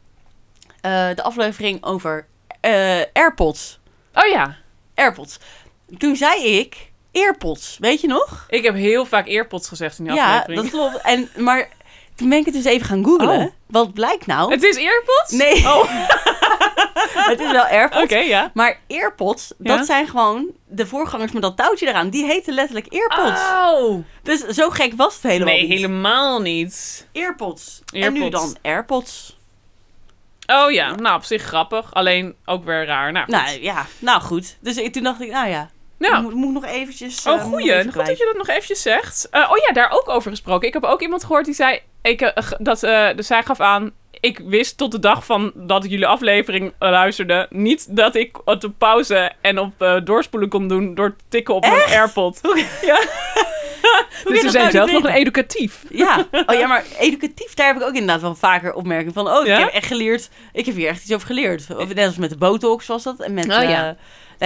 Speaker 3: Eh, de aflevering over eh, AirPods.
Speaker 4: Oh ja.
Speaker 3: AirPods. Toen zei ik AirPods, weet je nog?
Speaker 4: Ik heb heel vaak earpods gezegd in die
Speaker 3: ja,
Speaker 4: aflevering.
Speaker 3: dat klopt. En, maar toen ben ik het dus even gaan googlen.
Speaker 4: Oh.
Speaker 3: Wat blijkt nou?
Speaker 4: Het is earpods?
Speaker 3: Nee,
Speaker 4: Oh, oké,
Speaker 3: het is wel AirPods.
Speaker 4: ja.
Speaker 3: Maar AirPods,
Speaker 4: Ja?
Speaker 3: dat zijn gewoon de voorgangers met dat touwtje eraan. Die heten letterlijk AirPods.
Speaker 4: Oh.
Speaker 3: Dus zo gek was het helemaal
Speaker 4: Nee,
Speaker 3: niet.
Speaker 4: helemaal niet.
Speaker 3: AirPods. En nu
Speaker 4: AirPods.
Speaker 3: dan AirPods.
Speaker 4: Oh ja, nou op zich grappig. Alleen ook weer raar. Nou,
Speaker 3: Nou ja, nou goed. Dus ik, toen dacht ik, nou ja,
Speaker 4: nou.
Speaker 3: Moet, moet ik nog eventjes... eh, moet
Speaker 4: Oh,
Speaker 3: ik nog
Speaker 4: goeie.
Speaker 3: even
Speaker 4: Goed
Speaker 3: kwijt.
Speaker 4: dat je dat nog eventjes zegt. Eh, oh ja, daar ook over gesproken. Ik heb ook iemand gehoord die zei... Ik, eh, g- dat, eh, dus zij gaf aan... Ik wist tot de dag van dat ik jullie aflevering eh, luisterde... niet dat ik op de pauze en op eh, doorspoelen kon doen... door te tikken op mijn AirPod. Ja. dus ze
Speaker 3: dat
Speaker 4: zijn
Speaker 3: nou
Speaker 4: zelf
Speaker 3: niet
Speaker 4: nog een educatief.
Speaker 3: Ja. Oh ja, maar educatief, daar heb ik ook inderdaad wel vaker opmerking van. Oh,
Speaker 4: Ja?
Speaker 3: ik heb echt geleerd. Ik heb hier echt iets over geleerd. Of net als met de botox was dat. En met...
Speaker 4: Oh, ja.
Speaker 3: eh,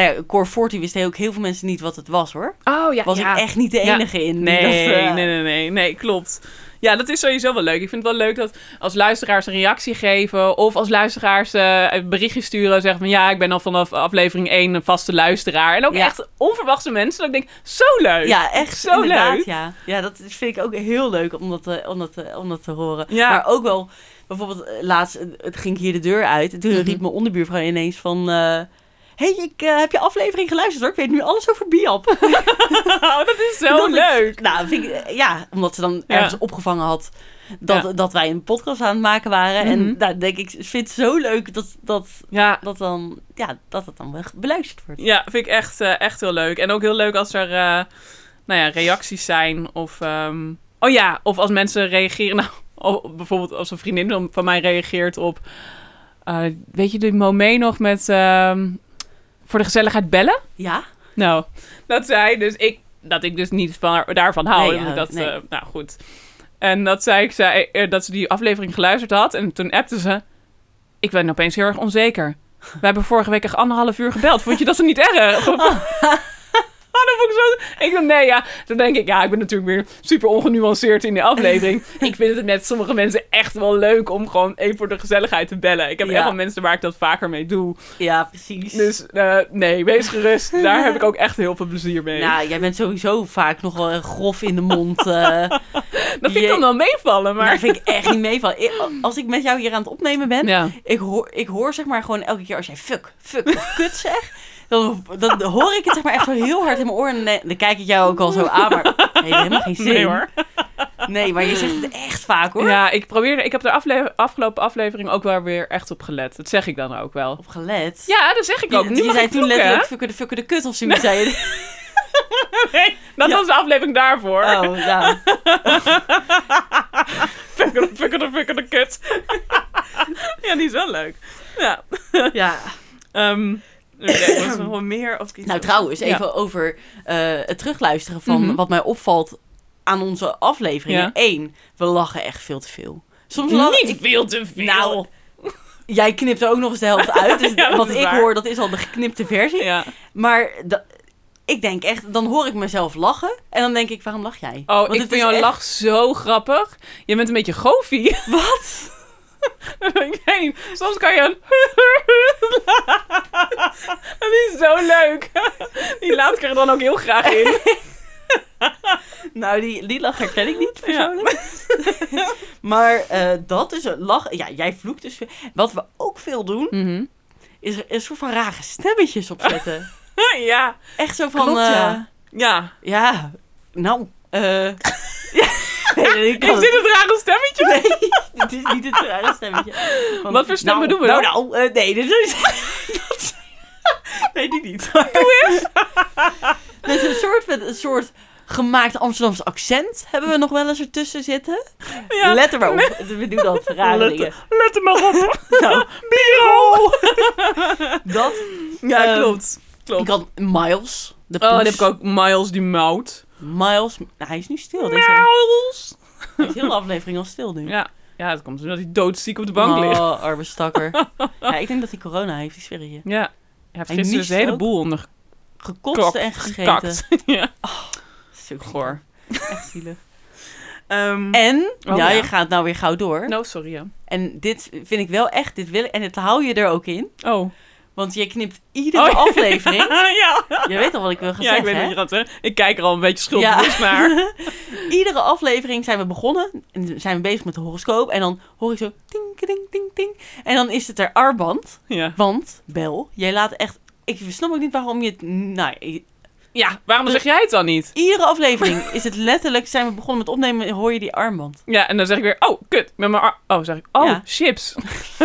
Speaker 3: nou ja, Core 40 wisten ook heel veel mensen niet wat het was, hoor.
Speaker 4: Oh ja,
Speaker 3: Was
Speaker 4: ja.
Speaker 3: ik echt niet de
Speaker 4: Ja.
Speaker 3: enige in. die
Speaker 4: Nee,
Speaker 3: dat, eh,
Speaker 4: nee, nee, nee, nee, klopt. Ja, dat is sowieso wel leuk. Ik vind het wel leuk dat als luisteraars een reactie geven of als luisteraars eh, een berichtje sturen, zeggen van ja, ik ben al vanaf aflevering 1 een vaste luisteraar. En ook
Speaker 3: Ja.
Speaker 4: echt onverwachte mensen. Dat ik denk, zo leuk.
Speaker 3: Ja, echt
Speaker 4: Zo
Speaker 3: inderdaad,
Speaker 4: leuk.
Speaker 3: Ja. ja, dat is- vind ik ook heel leuk om dat, eh, om dat, eh, om dat te horen.
Speaker 4: Ja.
Speaker 3: Maar ook wel, bijvoorbeeld eh, laatst eh, het ging ik hier de deur uit. En toen
Speaker 4: Mhm.
Speaker 3: riep mijn onderbuurvrouw ineens van... eh, hey, ik eh, heb je aflevering geluisterd hoor. Ik weet nu alles over Biap.
Speaker 4: Oh, dat is zo
Speaker 3: Dat ik-
Speaker 4: leuk.
Speaker 3: nou, vind ik, eh, ja, omdat ze dan
Speaker 4: Ja.
Speaker 3: ergens opgevangen had dat,
Speaker 4: Ja.
Speaker 3: dat wij een podcast aan het maken waren. En
Speaker 4: Mhm.
Speaker 3: daar denk ik, ik vind het zo leuk dat, dat,
Speaker 4: Ja,
Speaker 3: dat, dan, ja, dat het dan wel beluisterd wordt.
Speaker 4: Ja, vind ik echt, eh, echt heel leuk. En ook heel leuk als er eh, nou ja, reacties zijn. Of, ehm, oh ja, of als mensen reageren. Nou, oh, bijvoorbeeld als een vriendin dan van mij reageert op... eh, weet je die moment nog met... ehm, voor de gezelligheid bellen?
Speaker 3: Ja,
Speaker 4: Nou, dat zij dus ik, dat ik dus niet van, daarvan hou.
Speaker 3: Nee,
Speaker 4: dat ik
Speaker 3: ja,
Speaker 4: dat,
Speaker 3: nee.
Speaker 4: eh, nou goed. En dat zij, ik zei eh, dat ze die aflevering geluisterd had. En toen appte ze. Ik ben opeens heel erg onzeker. We hebben vorige week echt anderhalf uur gebeld. Vond je dat ze niet erg? Oh. dat vond ik zo... Ik dacht, nee, ja. Dan denk ik, ja, ik ben natuurlijk weer super ongenuanceerd in die aflevering. ik vind het met sommige mensen echt wel leuk om gewoon even voor de gezelligheid te bellen. Ik heb
Speaker 3: Ja.
Speaker 4: echt wel mensen waar ik dat vaker mee doe.
Speaker 3: ja precies.
Speaker 4: Dus eh, nee, wees gerust. Daar heb ik ook echt heel veel plezier mee.
Speaker 3: Nou, jij bent sowieso vaak nog wel eh, grof in de mond. eh.
Speaker 4: dat vind ik dan
Speaker 3: je-
Speaker 4: wel meevallen,
Speaker 3: Maar
Speaker 4: maar...
Speaker 3: dat vind ik echt niet mee van. Ik- Als ik met jou hier aan het opnemen ben,
Speaker 4: Ja.
Speaker 3: ik, hoor, ik hoor zeg maar gewoon elke keer als jij fuck, fuck of kut zegt, dan, dan hoor ik het zeg maar echt zo heel hard in mijn oor. En dan- dan kijk ik jou ook al zo aan, maar het heeft helemaal geen zin.
Speaker 4: Nee hoor.
Speaker 3: Nee, maar je zegt het echt vaak hoor.
Speaker 4: Ja, ik probeerde... Ik heb de afle- afgelopen aflevering ook wel weer echt op gelet. Dat zeg ik dan ook wel.
Speaker 3: Op gelet.
Speaker 4: Ja, dat zeg ik ook.
Speaker 3: je,
Speaker 4: Nu
Speaker 3: je
Speaker 4: mag
Speaker 3: zei
Speaker 4: ik
Speaker 3: toen
Speaker 4: vloeken,
Speaker 3: letterlijk fucker de fucker de kut of zoiets. Zei je.
Speaker 4: hè? Nee, dat
Speaker 3: Ja.
Speaker 4: was de aflevering daarvoor.
Speaker 3: Oh, nou.
Speaker 4: Fucker, fucker, fucker, de kut. ja, die is wel leuk. Ja.
Speaker 3: Ja.
Speaker 4: Ehm er was nog wel meer of ik iets-
Speaker 3: Nou, trouwens, even over eh, het terugluisteren van
Speaker 4: Mhm.
Speaker 3: wat mij opvalt aan onze afleveringen.
Speaker 4: Ja.
Speaker 3: Eén, we lachen echt veel te veel. Soms lach
Speaker 4: Niet
Speaker 3: ik-
Speaker 4: veel te veel.
Speaker 3: Nou, jij knipt er ook nog eens de helft uit. Dus
Speaker 4: Ja, dat
Speaker 3: wat
Speaker 4: is
Speaker 3: ik
Speaker 4: waar.
Speaker 3: hoor, dat is al de geknipte versie.
Speaker 4: ja.
Speaker 3: Maar da- ik denk echt, dan hoor ik mezelf lachen. En dan denk ik, waarom lach jij?
Speaker 4: Oh,
Speaker 3: Want
Speaker 4: ik
Speaker 3: het
Speaker 4: vind
Speaker 3: is
Speaker 4: jouw
Speaker 3: echt-
Speaker 4: lach zo grappig. Je bent een beetje goofy.
Speaker 3: Wat?
Speaker 4: Daar ben ik heen. Soms kan je een... Die is zo leuk. Die laat ik er dan ook heel graag in.
Speaker 3: Nou, die, die lach herken ik niet persoonlijk. maar eh, dat is een lach. Ja, jij vloekt dus veel. Wat we ook veel doen,
Speaker 4: Mhm.
Speaker 3: is er een soort van rare stemmetjes opzetten.
Speaker 4: Ja.
Speaker 3: Echt zo van...
Speaker 1: Klopt,
Speaker 3: eh,
Speaker 1: ja.
Speaker 4: Ja.
Speaker 3: ja, nou... eh nee, nee, ik
Speaker 4: Is
Speaker 3: kan
Speaker 4: dit het rare stemmetje?
Speaker 3: Nee, dit is niet het rare stemmetje. Van,
Speaker 4: Wat voor stemmen
Speaker 3: nou,
Speaker 4: doen we
Speaker 3: Nou,
Speaker 4: dan?
Speaker 3: nou, eh, nee, dit is... dat- nee, die niet. Met een soort, met een soort gemaakt Amsterdamse accent hebben we nog wel eens ertussen zitten.
Speaker 4: Ja.
Speaker 3: Let er maar op. We doen dat, rare
Speaker 4: Let-
Speaker 3: dingen.
Speaker 4: Let er maar op.
Speaker 3: Nou,
Speaker 4: Biro.
Speaker 3: dat.
Speaker 4: Ja,
Speaker 3: Ehm,
Speaker 4: klopt.
Speaker 3: Ik
Speaker 4: Klopt.
Speaker 3: had Miles. De
Speaker 4: Oh, dan
Speaker 3: poes.
Speaker 4: heb ik ook Miles die mout.
Speaker 3: Miles. Nou, hij is nu stil. Deze,
Speaker 4: Miles.
Speaker 3: hij is heel de aflevering al stil nu.
Speaker 4: Ja. Ja, dat komt omdat hij doodziek op de bank ligt.
Speaker 3: Oh, arme stakker. ja, ik denk dat hij corona heeft, ik zweer het je.
Speaker 4: Ja. Hij heeft
Speaker 3: Hij
Speaker 4: gisteren dus
Speaker 3: niest
Speaker 4: een hele
Speaker 3: ook.
Speaker 4: boel onder
Speaker 3: Gekotst
Speaker 4: Klopt,
Speaker 3: en gegeten.
Speaker 4: gekakt. ja.
Speaker 3: Zo
Speaker 4: Goor.
Speaker 3: Echt zielig.
Speaker 4: Ehm,
Speaker 3: En,
Speaker 4: Oh,
Speaker 3: ja,
Speaker 4: ja.
Speaker 3: je gaat nou weer gauw door.
Speaker 4: no, sorry. ja.
Speaker 3: En dit vind ik wel echt, dit wil ik, en dit hou je er ook in.
Speaker 4: Oh.
Speaker 3: Want je knipt iedere
Speaker 4: Oh, ja.
Speaker 3: aflevering.
Speaker 4: ja.
Speaker 3: Je weet al wat ik wil gaan
Speaker 4: Ja, ik
Speaker 3: zeggen,
Speaker 4: weet
Speaker 3: hè?
Speaker 4: wat je gaat zeggen. Ik kijk er al een beetje schuldbewust naar.
Speaker 3: Iedere aflevering zijn we begonnen. En zijn we bezig met de horoscoop. En dan hoor ik zo ting, ting, ting, ting. En dan is het er Arband.
Speaker 4: Ja.
Speaker 3: Want, Bel, jij laat echt... Ik snap ook niet waarom je het... Nou, i-
Speaker 4: ja, waarom zeg jij het dan niet?
Speaker 3: iedere aflevering is het letterlijk... Zijn we begonnen met opnemen en hoor je die Arband.
Speaker 4: Ja, en dan zeg ik weer, oh, kut, met mijn arm... Oh, zeg ik, oh,
Speaker 3: Ja.
Speaker 4: chips.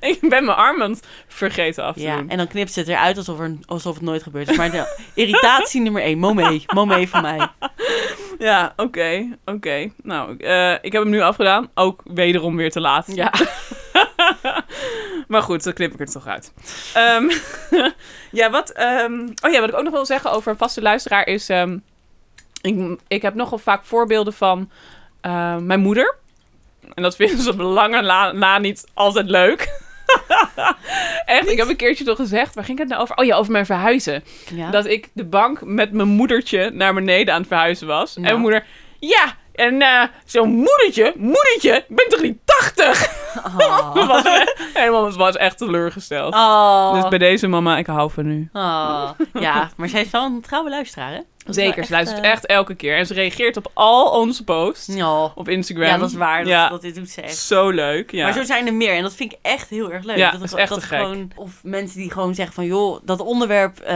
Speaker 4: ik ben mijn arm aan het vergeten af te
Speaker 3: Ja,
Speaker 4: doen.
Speaker 3: en dan knipt ze het eruit alsof, er, alsof het nooit gebeurd is. Maar de irritatie nummer één. Momé. Momé van mij.
Speaker 4: Ja, oké, oké. Nou, eh, ik heb hem nu afgedaan. Ook wederom weer te laat.
Speaker 3: Ja.
Speaker 4: maar goed, dan knip ik er toch uit. Ehm, ja, wat, ehm, oh ja, wat ik ook nog wil zeggen over een vaste luisteraar is... ehm, ik, ik heb nogal vaak voorbeelden van eh, mijn moeder. En dat vinden ze op de lange la, na niet altijd leuk. Echt, ik heb een keertje toch gezegd... Waar ging het nou over? Oh ja, over mijn verhuizen.
Speaker 3: Ja.
Speaker 4: Dat ik de bank met mijn moedertje naar beneden aan het verhuizen was. En
Speaker 3: Nou.
Speaker 4: mijn moeder, ja, en eh, zo'n moedertje, moedertje, ik ben toch niet 80?
Speaker 3: Ah.
Speaker 4: Was, echt- helemaal, ze was echt teleurgesteld.
Speaker 3: Ah.
Speaker 4: Dus bij deze mama, ik hou van u.
Speaker 3: Ah. Ja, maar zij is wel een trouwe luisteraar, hè? Dat is wel
Speaker 4: Zeker, ze luistert
Speaker 3: eh,
Speaker 4: echt elke keer. En ze reageert op al onze posts
Speaker 3: Ja.
Speaker 4: op Instagram.
Speaker 3: ja, dat is waar. Dat,
Speaker 4: Ja,
Speaker 3: dat dit doet ze echt.
Speaker 4: zo leuk. Ja.
Speaker 3: Maar zo zijn er meer. En dat vind ik echt heel erg leuk.
Speaker 4: Ja,
Speaker 3: dat
Speaker 4: dat is echt te gek.
Speaker 3: gewoon, Of mensen die gewoon zeggen van... joh, dat onderwerp, eh,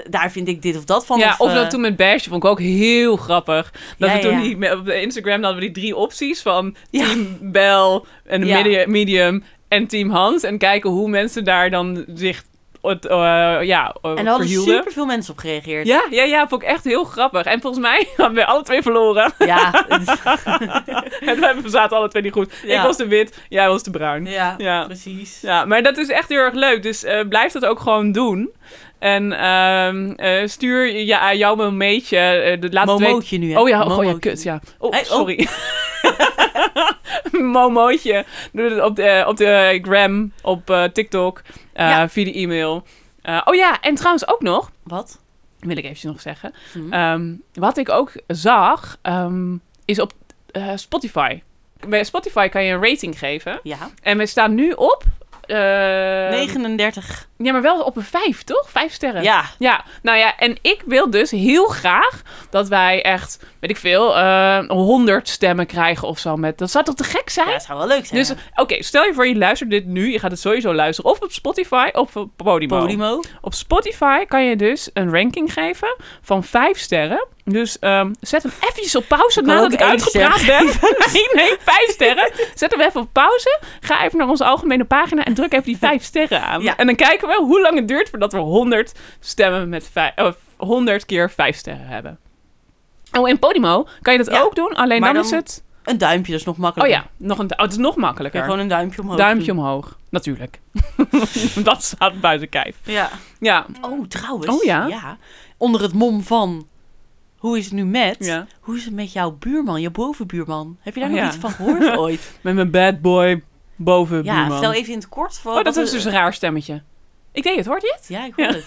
Speaker 3: d- daar vind ik dit of dat van.
Speaker 4: ja, of
Speaker 3: eh,
Speaker 4: dat toen met Bash, vond ik ook heel grappig. Dat
Speaker 3: Ja,
Speaker 4: we toen
Speaker 3: ja.
Speaker 4: die, me- op de Instagram hadden we die drie opties van
Speaker 3: Ja.
Speaker 4: Team Bel en
Speaker 3: Ja.
Speaker 4: medi- medium en Team Hans. En kijken hoe mensen daar dan zich het, eh, ja, eh,
Speaker 3: En daar hadden
Speaker 4: verhielden.
Speaker 3: superveel mensen op gereageerd.
Speaker 4: Ja, ja, ja, vond ik echt heel grappig. En volgens mij hebben we alle twee verloren.
Speaker 3: Ja.
Speaker 4: En we zaten alle twee niet goed.
Speaker 3: Ja.
Speaker 4: Ik was de wit, jij was de bruin.
Speaker 3: ja,
Speaker 4: Ja.
Speaker 3: precies.
Speaker 4: Ja, maar dat is echt heel erg leuk. Dus eh, blijf dat ook gewoon doen. En ehm, eh, stuur je, ja, jouw momentje. eh, de laatste twee-
Speaker 3: Momootje nu, hè?
Speaker 4: Oh ja, oh, ja,
Speaker 3: Momootje.
Speaker 4: kut, ja. Oh,
Speaker 3: Hey, oh.
Speaker 4: sorry. Momootje. Doe het op de, op de gram, op eh, TikTok, eh,
Speaker 3: Ja.
Speaker 4: via de e-mail. Eh, oh ja, en trouwens ook nog,
Speaker 3: Wat?
Speaker 4: wil ik even nog zeggen.
Speaker 3: Hm.
Speaker 4: Ehm, wat ik ook zag, ehm, is op eh, Spotify. Bij Spotify kan je een rating geven.
Speaker 3: Ja.
Speaker 4: En we staan nu op... eh,
Speaker 3: 39.
Speaker 4: Ja, maar wel op een vijf, toch? Vijf sterren.
Speaker 3: Ja.
Speaker 4: Ja, nou ja, en ik wil dus heel graag dat wij echt, weet ik veel, eh 100 stemmen krijgen of zo. Met, dat zou toch te gek zijn?
Speaker 3: ja, zou wel leuk zijn.
Speaker 4: Dus oké, stel je voor je luistert dit nu. Je gaat het sowieso luisteren. Of op Spotify of op Podimo.
Speaker 3: Podimo.
Speaker 4: Op Spotify kan je dus een ranking geven van 5 sterren. Dus ehm, zet hem eventjes op pauze
Speaker 3: Ik kan
Speaker 4: nadat
Speaker 3: ook
Speaker 4: ik
Speaker 3: één
Speaker 4: uitgepraat ben. Nee, nee, 5 sterren. Zet hem even op pauze. Ga even naar onze algemene pagina en druk even die 5 sterren aan.
Speaker 3: Ja.
Speaker 4: En dan kijken we hoe lang het duurt voordat we 100 stemmen met vijf, eh, 100 keer 5 sterren hebben. Oh, en Podimo kan je dat
Speaker 3: Ja,
Speaker 4: ook doen. Alleen
Speaker 3: maar
Speaker 4: dan, is
Speaker 3: dan
Speaker 4: het.
Speaker 3: Een duimpje, dus nog
Speaker 4: Oh
Speaker 3: makkelijker.
Speaker 4: ja, nog een, oh, het is nog
Speaker 3: Kun je
Speaker 4: makkelijker.
Speaker 3: gewoon een duimpje omhoog
Speaker 4: Duimpje
Speaker 3: doen.
Speaker 4: omhoog, natuurlijk. dat staat buiten kijf.
Speaker 3: Ja.
Speaker 4: Ja.
Speaker 3: Oh, trouwens.
Speaker 4: Oh, ja?
Speaker 3: Onder het mom van... Hoe is het nu met?
Speaker 4: ja.
Speaker 3: Hoe is het met jouw buurman, je bovenbuurman? Heb je daar
Speaker 4: Oh,
Speaker 3: nog
Speaker 4: ja.
Speaker 3: iets van gehoord ooit?
Speaker 4: Met mijn bad boy boven
Speaker 3: ja,
Speaker 4: buurman.
Speaker 3: vertel even in het kort. Van,
Speaker 4: oh, dat
Speaker 3: wat-
Speaker 4: is dus een raar stemmetje. Ik deed het, hoort je het?
Speaker 3: Ja, ik hoor het.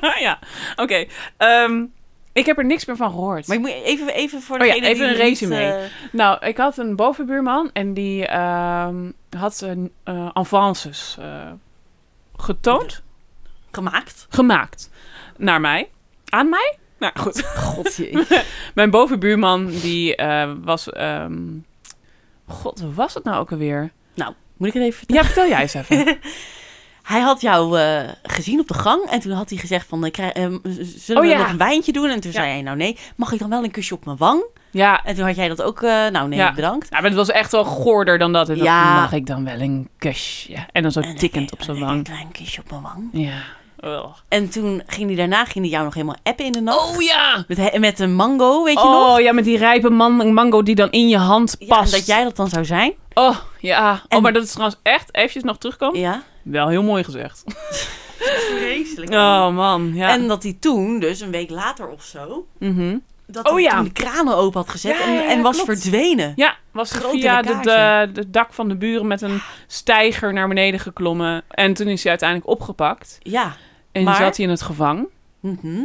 Speaker 3: ja.
Speaker 4: ja, oké. Ehm, ik heb er niks meer van gehoord.
Speaker 3: Maar ik moet even, even voor
Speaker 4: Oh ja,
Speaker 3: degene die
Speaker 4: even een
Speaker 3: niet,
Speaker 4: resume.
Speaker 3: eh,
Speaker 4: Nou, ik had een bovenbuurman en die ehm, had ze eh avances eh, getoond,
Speaker 3: Gemaakt.
Speaker 4: gemaakt. Naar mij. Aan mij? Nou goed.
Speaker 3: Godje.
Speaker 4: Mijn bovenbuurman, die eh, was. ehm, God, wat was het nou ook alweer?
Speaker 3: nou, moet ik het even vertellen?
Speaker 4: Ja, vertel jij eens even.
Speaker 3: Hij had jou eh, gezien op de gang en toen had hij gezegd van, eh, krij- eh, zullen
Speaker 4: Oh,
Speaker 3: we
Speaker 4: ja.
Speaker 3: nog een wijntje doen? En toen
Speaker 4: Ja.
Speaker 3: zei hij, nou nee, mag ik dan wel een kusje op mijn wang?
Speaker 4: Ja,
Speaker 3: En toen had jij dat ook, eh, nou nee,
Speaker 4: Ja.
Speaker 3: bedankt.
Speaker 4: Ja, maar het was echt wel goorder dan dat. En dat
Speaker 3: Ja.
Speaker 4: mag ik dan wel een kusje. En dan zo
Speaker 3: En ik-
Speaker 4: tikkend op zijn
Speaker 3: en Een
Speaker 4: wang.
Speaker 3: klein kusje op mijn wang.
Speaker 4: Ja.
Speaker 3: En toen ging hij daarna, ging hij jou nog helemaal appen in de nacht.
Speaker 4: Oh ja!
Speaker 3: Met, he- met een mango, weet je nog?
Speaker 4: Oh ja, met die rijpe man mango die dan in je hand
Speaker 3: Ja,
Speaker 4: past.
Speaker 3: en dat jij dat dan zou zijn.
Speaker 4: Oh ja.
Speaker 3: En-
Speaker 4: Oh, maar dat is trouwens echt, eventjes nog terugkomen.
Speaker 3: Ja.
Speaker 4: Wel heel mooi gezegd.
Speaker 3: Vreselijk.
Speaker 4: Oh man, ja.
Speaker 3: En dat hij toen, dus een week later of zo,
Speaker 4: Mhm.
Speaker 3: dat
Speaker 4: Oh
Speaker 3: hij
Speaker 4: ja.
Speaker 3: toen de kranen open had gezet
Speaker 4: Ja,
Speaker 3: en,
Speaker 4: ja, ja,
Speaker 3: en was
Speaker 4: klopt.
Speaker 3: verdwenen.
Speaker 4: Ja, was
Speaker 3: Grote
Speaker 4: via de, de,
Speaker 3: lekkage.
Speaker 4: de dak van de buren met een stijger naar beneden geklommen. En toen is hij uiteindelijk opgepakt.
Speaker 3: Ja.
Speaker 4: En
Speaker 3: Maar-
Speaker 4: zat hij in het gevang.
Speaker 3: Mhm.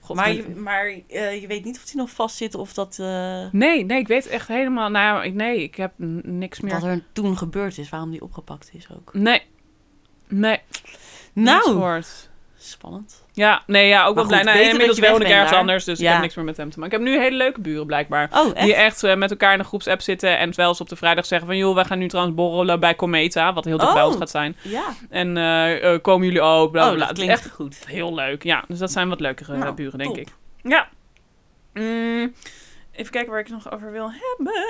Speaker 4: God,
Speaker 3: maar
Speaker 4: weet-
Speaker 3: je, maar eh, je weet niet of hij nog vast zit of dat, eh,
Speaker 4: Nee, nee, ik weet echt helemaal. Nou, ja, ik- nee, ik heb n- niks meer.
Speaker 3: wat er toen gebeurd is, waarom die opgepakt is ook.
Speaker 4: Nee. Nee. niks
Speaker 3: Nou,
Speaker 4: gehoord.
Speaker 3: spannend.
Speaker 4: Ja, nee, ja, ook wel
Speaker 3: goed,
Speaker 4: blij.
Speaker 3: beter
Speaker 4: Nee, inmiddels
Speaker 3: dat je
Speaker 4: woon ik
Speaker 3: weg bent
Speaker 4: ergens
Speaker 3: daar.
Speaker 4: anders, dus ik
Speaker 3: Ja.
Speaker 4: heb niks meer met hem te maken. Ik heb nu hele leuke buren, blijkbaar.
Speaker 3: Oh, echt?
Speaker 4: Die echt eh, met elkaar in een groepsapp zitten en wel eens op de vrijdag zeggen van... joh, wij gaan nu trouwens borrelen bij Cometa, wat heel dicht bij
Speaker 3: Oh.
Speaker 4: ons gaat zijn.
Speaker 3: Ja.
Speaker 4: En eh, eh, komen jullie ook, bla bla,
Speaker 3: oh,
Speaker 4: bla.
Speaker 3: dat
Speaker 4: Het is
Speaker 3: klinkt
Speaker 4: Echt
Speaker 3: goed.
Speaker 4: heel leuk, ja. Dus dat zijn wat leukere eh,
Speaker 3: Nou,
Speaker 4: buren,
Speaker 3: top.
Speaker 4: denk ik. Ja. Mm, even kijken waar ik het nog over wil hebben.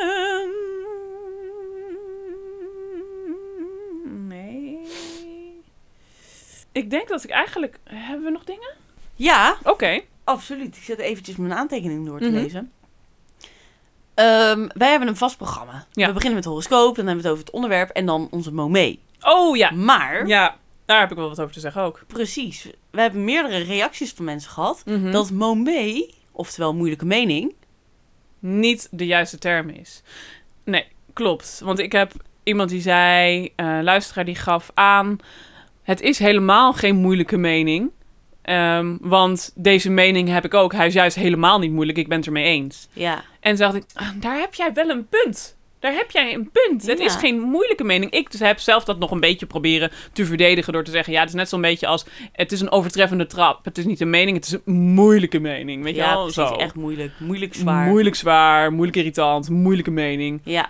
Speaker 4: Nee. Ik denk dat ik eigenlijk... Hebben we nog dingen?
Speaker 3: Ja,
Speaker 4: Oké.
Speaker 3: absoluut. Ik zet eventjes mijn aantekening door te
Speaker 4: Mhm.
Speaker 3: lezen. Ehm, wij hebben een vast programma.
Speaker 4: Ja.
Speaker 3: We beginnen met het horoscoop, dan hebben we het over het onderwerp en dan onze momee.
Speaker 4: Oh ja.
Speaker 3: Maar,
Speaker 4: Ja, daar heb ik wel wat over te zeggen ook.
Speaker 3: precies, we hebben meerdere reacties van mensen gehad
Speaker 4: Dat
Speaker 3: dat momee, oftewel moeilijke mening,
Speaker 4: niet de juiste term is. Nee, klopt. Want ik heb iemand die zei, eh luisteraar die gaf aan... Het is helemaal geen moeilijke mening. Ehm, want deze mening heb ik ook. Hij is juist helemaal niet moeilijk. Ik ben het ermee eens.
Speaker 3: ja,
Speaker 4: En toen dacht ik, ah, daar heb jij wel een punt. Daar heb jij een punt. Het
Speaker 3: Ja.
Speaker 4: is geen moeilijke mening. Ik dus heb zelf dat nog een beetje proberen te verdedigen door te zeggen... ja, het is net zo'n beetje als... het is een overtreffende trap. Het is niet een mening, het is een moeilijke mening. Weet je
Speaker 3: ja
Speaker 4: wel?
Speaker 3: precies,
Speaker 4: Zo.
Speaker 3: echt moeilijk, moeilijk zwaar.
Speaker 4: Moeilijk zwaar, moeilijk irritant, moeilijke mening.
Speaker 3: Ja,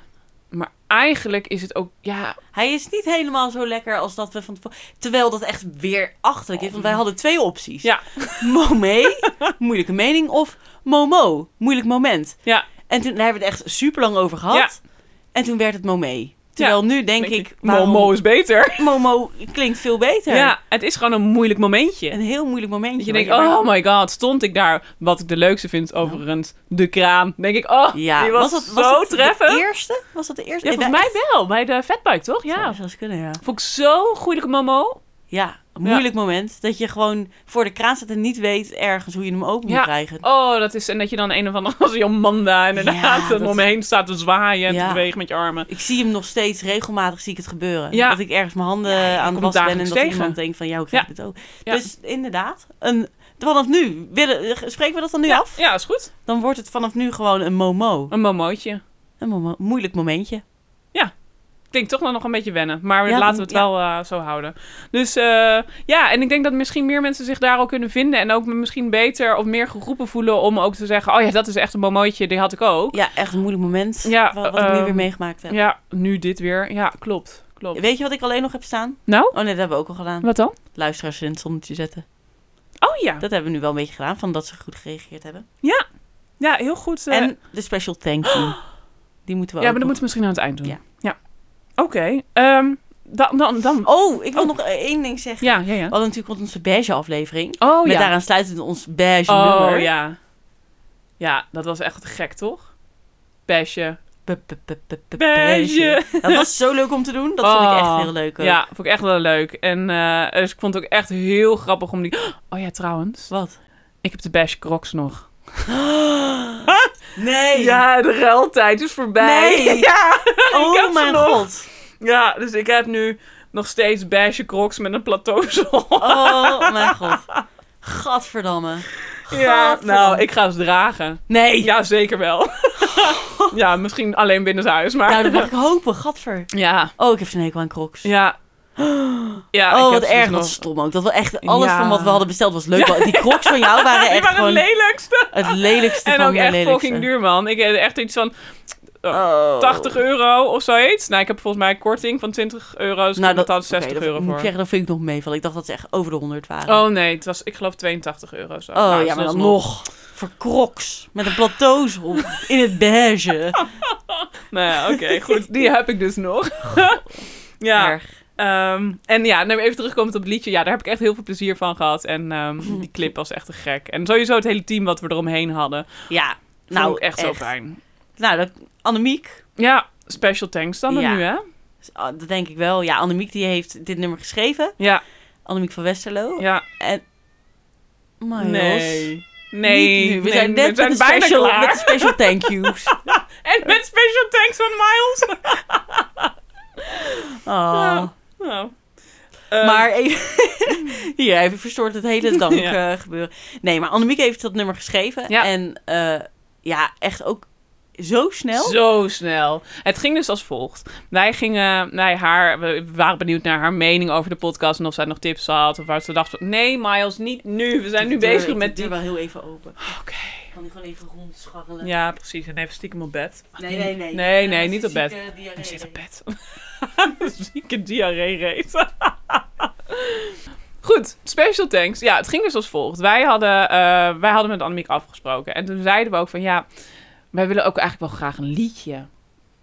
Speaker 4: Maar eigenlijk is het ook, ja,
Speaker 3: hij is niet helemaal zo lekker als dat we van tevoren... Terwijl dat echt weer achterlijk is, want wij hadden twee opties.
Speaker 4: Ja.
Speaker 3: Momee, moeilijke mening, of momo, moeilijk moment.
Speaker 4: ja,
Speaker 3: En toen daar hebben we het echt super lang over gehad. En toen werd het momee. Terwijl nu denk ik, waarom-
Speaker 4: Momo is beter.
Speaker 3: momo klinkt veel beter.
Speaker 4: Ja, het is gewoon een moeilijk momentje.
Speaker 3: Een heel moeilijk momentje.
Speaker 4: Dat je
Speaker 3: waar
Speaker 4: denkt,
Speaker 3: maar-
Speaker 4: oh my god, stond ik daar. Wat ik de leukste vind, overigens, de kraan. Denk ik, oh,
Speaker 3: Ja,
Speaker 4: die was,
Speaker 3: dat,
Speaker 4: zo
Speaker 3: dat
Speaker 4: treffend.
Speaker 3: De eerste? Was dat de eerste?
Speaker 4: Ja,
Speaker 3: Ik
Speaker 4: volgens
Speaker 3: ben-
Speaker 4: mij wel, bij de fatbike, toch?
Speaker 3: Zou
Speaker 4: Ja.
Speaker 3: wel eens kunnen, ja.
Speaker 4: Vond ik zo'n goede Momo.
Speaker 3: Ja, een moeilijk moment. Dat je gewoon voor de kraan staat en niet weet ergens hoe je hem open
Speaker 4: Ja.
Speaker 3: moet krijgen.
Speaker 4: Oh, dat is, en dat je dan een of andere als Jomanda inderdaad
Speaker 3: Ja,
Speaker 4: er
Speaker 3: dat-
Speaker 4: omheen staat te zwaaien en te
Speaker 3: Ja.
Speaker 4: bewegen met je armen.
Speaker 3: Ik zie hem nog steeds regelmatig zie ik het gebeuren.
Speaker 4: Ja.
Speaker 3: Dat ik ergens mijn handen
Speaker 4: Ja, je
Speaker 3: aan
Speaker 4: komt
Speaker 3: het wassen ben en
Speaker 4: dagelijks
Speaker 3: dat
Speaker 4: tegen.
Speaker 3: iemand denkt van, ja, hoe krijg ik
Speaker 4: Ja.
Speaker 3: dit ook?
Speaker 4: Ja.
Speaker 3: Dus inderdaad, een, vanaf nu, willen, spreken we dat dan nu af?
Speaker 4: Ja, is goed.
Speaker 3: Dan wordt het vanaf nu gewoon een momo.
Speaker 4: Een momootje.
Speaker 3: Een momo- moeilijk momentje.
Speaker 4: Klinkt toch nog een beetje wennen. Maar
Speaker 3: Ja,
Speaker 4: laten we het
Speaker 3: ja.
Speaker 4: wel eh, zo houden. Dus eh, ja, en ik denk dat misschien meer mensen zich daar al kunnen vinden. En ook misschien beter of meer geroepen voelen om ook te zeggen... Oh ja, dat is echt een momentje, die had ik ook.
Speaker 3: Ja, echt een moeilijk moment.
Speaker 4: Ja,
Speaker 3: wat, wat ik nu
Speaker 4: ehm,
Speaker 3: weer meegemaakt
Speaker 4: Ja,
Speaker 3: heb.
Speaker 4: nu dit weer. Ja, klopt. klopt.
Speaker 3: Weet je wat ik alleen nog heb staan?
Speaker 4: Nou,
Speaker 3: Oh nee, dat hebben we ook al gedaan.
Speaker 4: wat dan?
Speaker 3: Luisteraars in het zonnetje zetten.
Speaker 4: Oh ja.
Speaker 3: Dat hebben we nu wel een beetje gedaan, van dat ze goed gereageerd hebben.
Speaker 4: Ja, heel goed. eh,
Speaker 3: En de special thank you. Die moeten we
Speaker 4: ja,
Speaker 3: ook
Speaker 4: maar dat
Speaker 3: nog-
Speaker 4: moeten we misschien aan het eind doen. Ja.
Speaker 3: Ja.
Speaker 4: Oké. ehm, dan, dan, dan...
Speaker 3: Oh, ik wil
Speaker 4: Oh.
Speaker 3: nog eh, één ding zeggen.
Speaker 4: Ja, ja, ja.
Speaker 3: We hadden natuurlijk onze beige aflevering.
Speaker 4: Oh
Speaker 3: met
Speaker 4: ja.
Speaker 3: daaraan sluitend ons beige
Speaker 4: Oh
Speaker 3: nummer.
Speaker 4: ja. Ja, dat was echt gek, toch? Besje.
Speaker 3: Be- be- be- be- be-
Speaker 4: Beige.
Speaker 3: Dat was zo leuk om te doen. Dat vond ik
Speaker 4: Oh,
Speaker 3: echt heel leuk. ook.
Speaker 4: Ja, vond ik echt wel leuk. En eh, dus ik vond het ook echt heel grappig om die... Oh ja, trouwens.
Speaker 3: Wat?
Speaker 4: Ik heb de Bash Crocs nog.
Speaker 3: Nee.
Speaker 4: Ah! Ja, de ruiltijd is voorbij.
Speaker 3: Nee.
Speaker 4: Ja,
Speaker 3: oh
Speaker 4: ik heb ze
Speaker 3: mijn
Speaker 4: nog.
Speaker 3: god.
Speaker 4: ja, dus ik heb nu nog steeds Bash Crocs met een plateauzol.
Speaker 3: Oh mijn god. Gadverdamme.
Speaker 4: ja,
Speaker 3: Gadverdamme.
Speaker 4: nou, ik ga ze dragen.
Speaker 3: Nee.
Speaker 4: Ja, zeker wel. Ja, misschien alleen binnen zijn huis, maar...
Speaker 3: Nou, dat mag ik hopen, gadver.
Speaker 4: Ja,
Speaker 3: Oh, ik heb zo'n hekel aan crocs.
Speaker 4: ja. ja
Speaker 3: oh,
Speaker 4: ik heb
Speaker 3: wat
Speaker 4: ze dus
Speaker 3: erg,
Speaker 4: nog-
Speaker 3: wat stom ook. Dat wel echt alles
Speaker 4: Ja.
Speaker 3: van wat we hadden besteld was leuk. Die crocs van jou waren
Speaker 4: Die
Speaker 3: echt
Speaker 4: waren
Speaker 3: gewoon
Speaker 4: het lelijkste.
Speaker 3: het lelijkste
Speaker 4: En
Speaker 3: van
Speaker 4: ook
Speaker 3: de
Speaker 4: echt
Speaker 3: lelijkste.
Speaker 4: fucking duur, man. Ik heb echt iets van
Speaker 3: Oh.
Speaker 4: 80 euro of zoiets. Nou, ik heb volgens mij een korting van 20 euro. Dus nou, ik betaal
Speaker 3: oké,
Speaker 4: 60
Speaker 3: dat
Speaker 4: euro
Speaker 3: Moet
Speaker 4: voor.
Speaker 3: ik zeggen, dat vind ik nog meevallen. Ik dacht dat ze echt over de 100 waren.
Speaker 4: Oh nee, het was, ik geloof 82 euro. Zo. Nou,
Speaker 3: Oh, ja, maar dan nog. Voor crocs. Met een plateauzool. in het beige.
Speaker 4: Nou ja, oké, goed. Die heb ik dus nog. ja.
Speaker 3: Erg.
Speaker 4: ehm, en ja, nou, even terugkomend op het liedje. Ja, daar heb ik echt heel veel plezier van gehad. En ehm, die clip was echt te gek. En sowieso het hele team wat we eromheen hadden.
Speaker 3: Ja.
Speaker 4: Nou,
Speaker 3: Nou,
Speaker 4: ik echt, zo fijn.
Speaker 3: Nou, dat, Annemiek.
Speaker 4: Ja, special thanks dan
Speaker 3: Ja.
Speaker 4: nu, hè?
Speaker 3: ah, Dat denk ik wel. Ja, Annemiek die heeft dit nummer geschreven.
Speaker 4: Ja,
Speaker 3: Annemiek van Westerlo.
Speaker 4: ja.
Speaker 3: Maar Jos,
Speaker 4: Nee. Nee,
Speaker 3: niet nu. We
Speaker 4: nee,
Speaker 3: zijn net met een
Speaker 4: bijna
Speaker 3: special,
Speaker 4: klaar.
Speaker 3: met de special thank yous. Ah.
Speaker 4: En met special thanks van Miles.
Speaker 3: Oh.
Speaker 4: Ja. Nou. Ehm,
Speaker 3: maar even, hier, even verstoort het hele dank
Speaker 4: Ja.
Speaker 3: eh, gebeuren. Nee, maar Annemiek heeft dat nummer geschreven.
Speaker 4: Ja.
Speaker 3: En eh, ja, echt ook zo snel.
Speaker 4: Zo snel. Het ging dus als volgt. Wij gingen, wij haar, we waren benieuwd naar haar mening over de podcast en of zij nog tips had. Of waar ze dacht van, nee Miles, niet nu. We zijn nu
Speaker 3: De deur-
Speaker 4: bezig
Speaker 3: de
Speaker 4: met
Speaker 3: deur
Speaker 4: die... Oké.
Speaker 3: wel heel even open. Ik kan die gewoon even rondscharrelen.
Speaker 4: Ja, precies. En even stiekem op bed.
Speaker 3: Nee, nee, nee.
Speaker 4: Nee,
Speaker 3: Eh,
Speaker 4: nee,
Speaker 3: ze
Speaker 4: niet op
Speaker 3: ziet,
Speaker 4: bed.
Speaker 3: eh, diarree.
Speaker 4: Hij zit op bed. Zieke diarree reet. Goed, special thanks. Ja, het ging dus als volgt. Wij hadden, eh, wij hadden met Annemiek afgesproken. En toen zeiden we ook van ja, wij willen ook eigenlijk wel graag een liedje.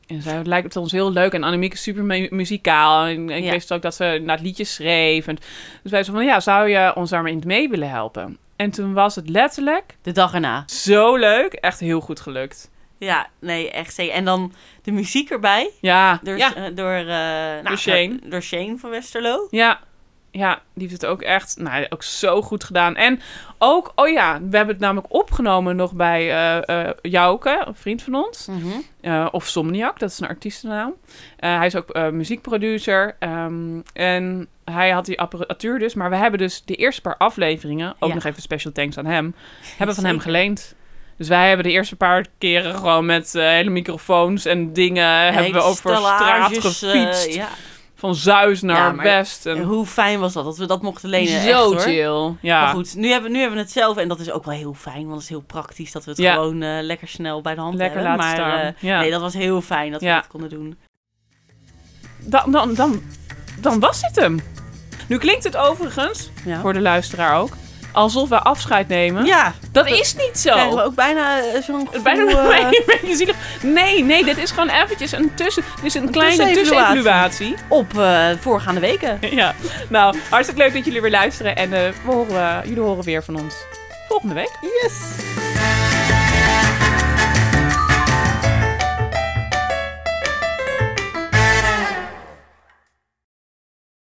Speaker 4: En zij het lijkt het ons heel leuk. En Annemiek is super mu- muzikaal. En, en ik
Speaker 3: Ja.
Speaker 4: wist ook dat ze naar het liedje schreef. En, dus wij zeiden van ja, zou je ons daar maar in het mee willen helpen? En toen was het letterlijk
Speaker 3: De dag erna.
Speaker 4: zo leuk. Echt heel goed gelukt.
Speaker 3: Ja, nee, echt. zeker. En dan de muziek erbij.
Speaker 4: Ja,
Speaker 3: Door,
Speaker 4: ja.
Speaker 3: eh, door, eh, nou,
Speaker 4: Door Shane.
Speaker 3: Door, door Shane van Westerlo.
Speaker 4: Ja. Ja, die heeft het ook echt nou, ook zo goed gedaan. En ook, oh ja, we hebben het namelijk opgenomen nog bij eh eh Jouke, een vriend van
Speaker 3: Hm.
Speaker 4: ons. Eh, of Somniac, dat is een artiestennaam. Eh, hij is ook eh, muziekproducer. ehm, en hij had die apparatuur dus. Maar we hebben dus de eerste paar afleveringen, ook
Speaker 3: Ja.
Speaker 4: nog even special thanks aan hem, hebben van
Speaker 3: Zeker.
Speaker 4: hem geleend. Dus wij hebben de eerste paar keren gewoon met eh, hele microfoons en dingen... hebben we
Speaker 3: Hele
Speaker 4: over straat
Speaker 3: stellages, eh,
Speaker 4: gefietst.
Speaker 3: ja.
Speaker 4: Van Zuis naar
Speaker 3: Ja, maar-
Speaker 4: West. En...
Speaker 3: En Hoe fijn was dat, dat we dat mochten lenen. echt,
Speaker 4: Zo
Speaker 3: hoor.
Speaker 4: chill.
Speaker 3: Maar
Speaker 4: Ja.
Speaker 3: goed, nu hebben, nu hebben we het zelf. En dat is ook wel heel fijn, want het is heel praktisch dat we het
Speaker 4: Ja.
Speaker 3: gewoon eh, lekker snel bij de hand
Speaker 4: Lekker
Speaker 3: hebben.
Speaker 4: laten
Speaker 3: maar
Speaker 4: staan.
Speaker 3: eh,
Speaker 4: Ja.
Speaker 3: nee, dat was heel fijn dat we
Speaker 4: Ja.
Speaker 3: dat konden doen.
Speaker 4: Dan, dan, dan, dan was het hem. Nu klinkt het overigens,
Speaker 3: Ja.
Speaker 4: voor de luisteraar ook, alsof we afscheid nemen.
Speaker 3: Ja,
Speaker 4: Dat is niet
Speaker 3: krijgen we
Speaker 4: zo.
Speaker 3: ook bijna eh, zo'n gevoel...
Speaker 4: Bijna
Speaker 3: eh,
Speaker 4: een beetje zielig. Nee, nee, dit is gewoon eventjes een tussen... Dit is een kleine
Speaker 3: tussenevaluatie.
Speaker 4: tussenevaluatie.
Speaker 3: op eh, voorgaande weken.
Speaker 4: Ja. Nou, hartstikke leuk dat jullie weer luisteren. En eh, we horen, jullie horen weer van ons volgende week.
Speaker 3: Yes!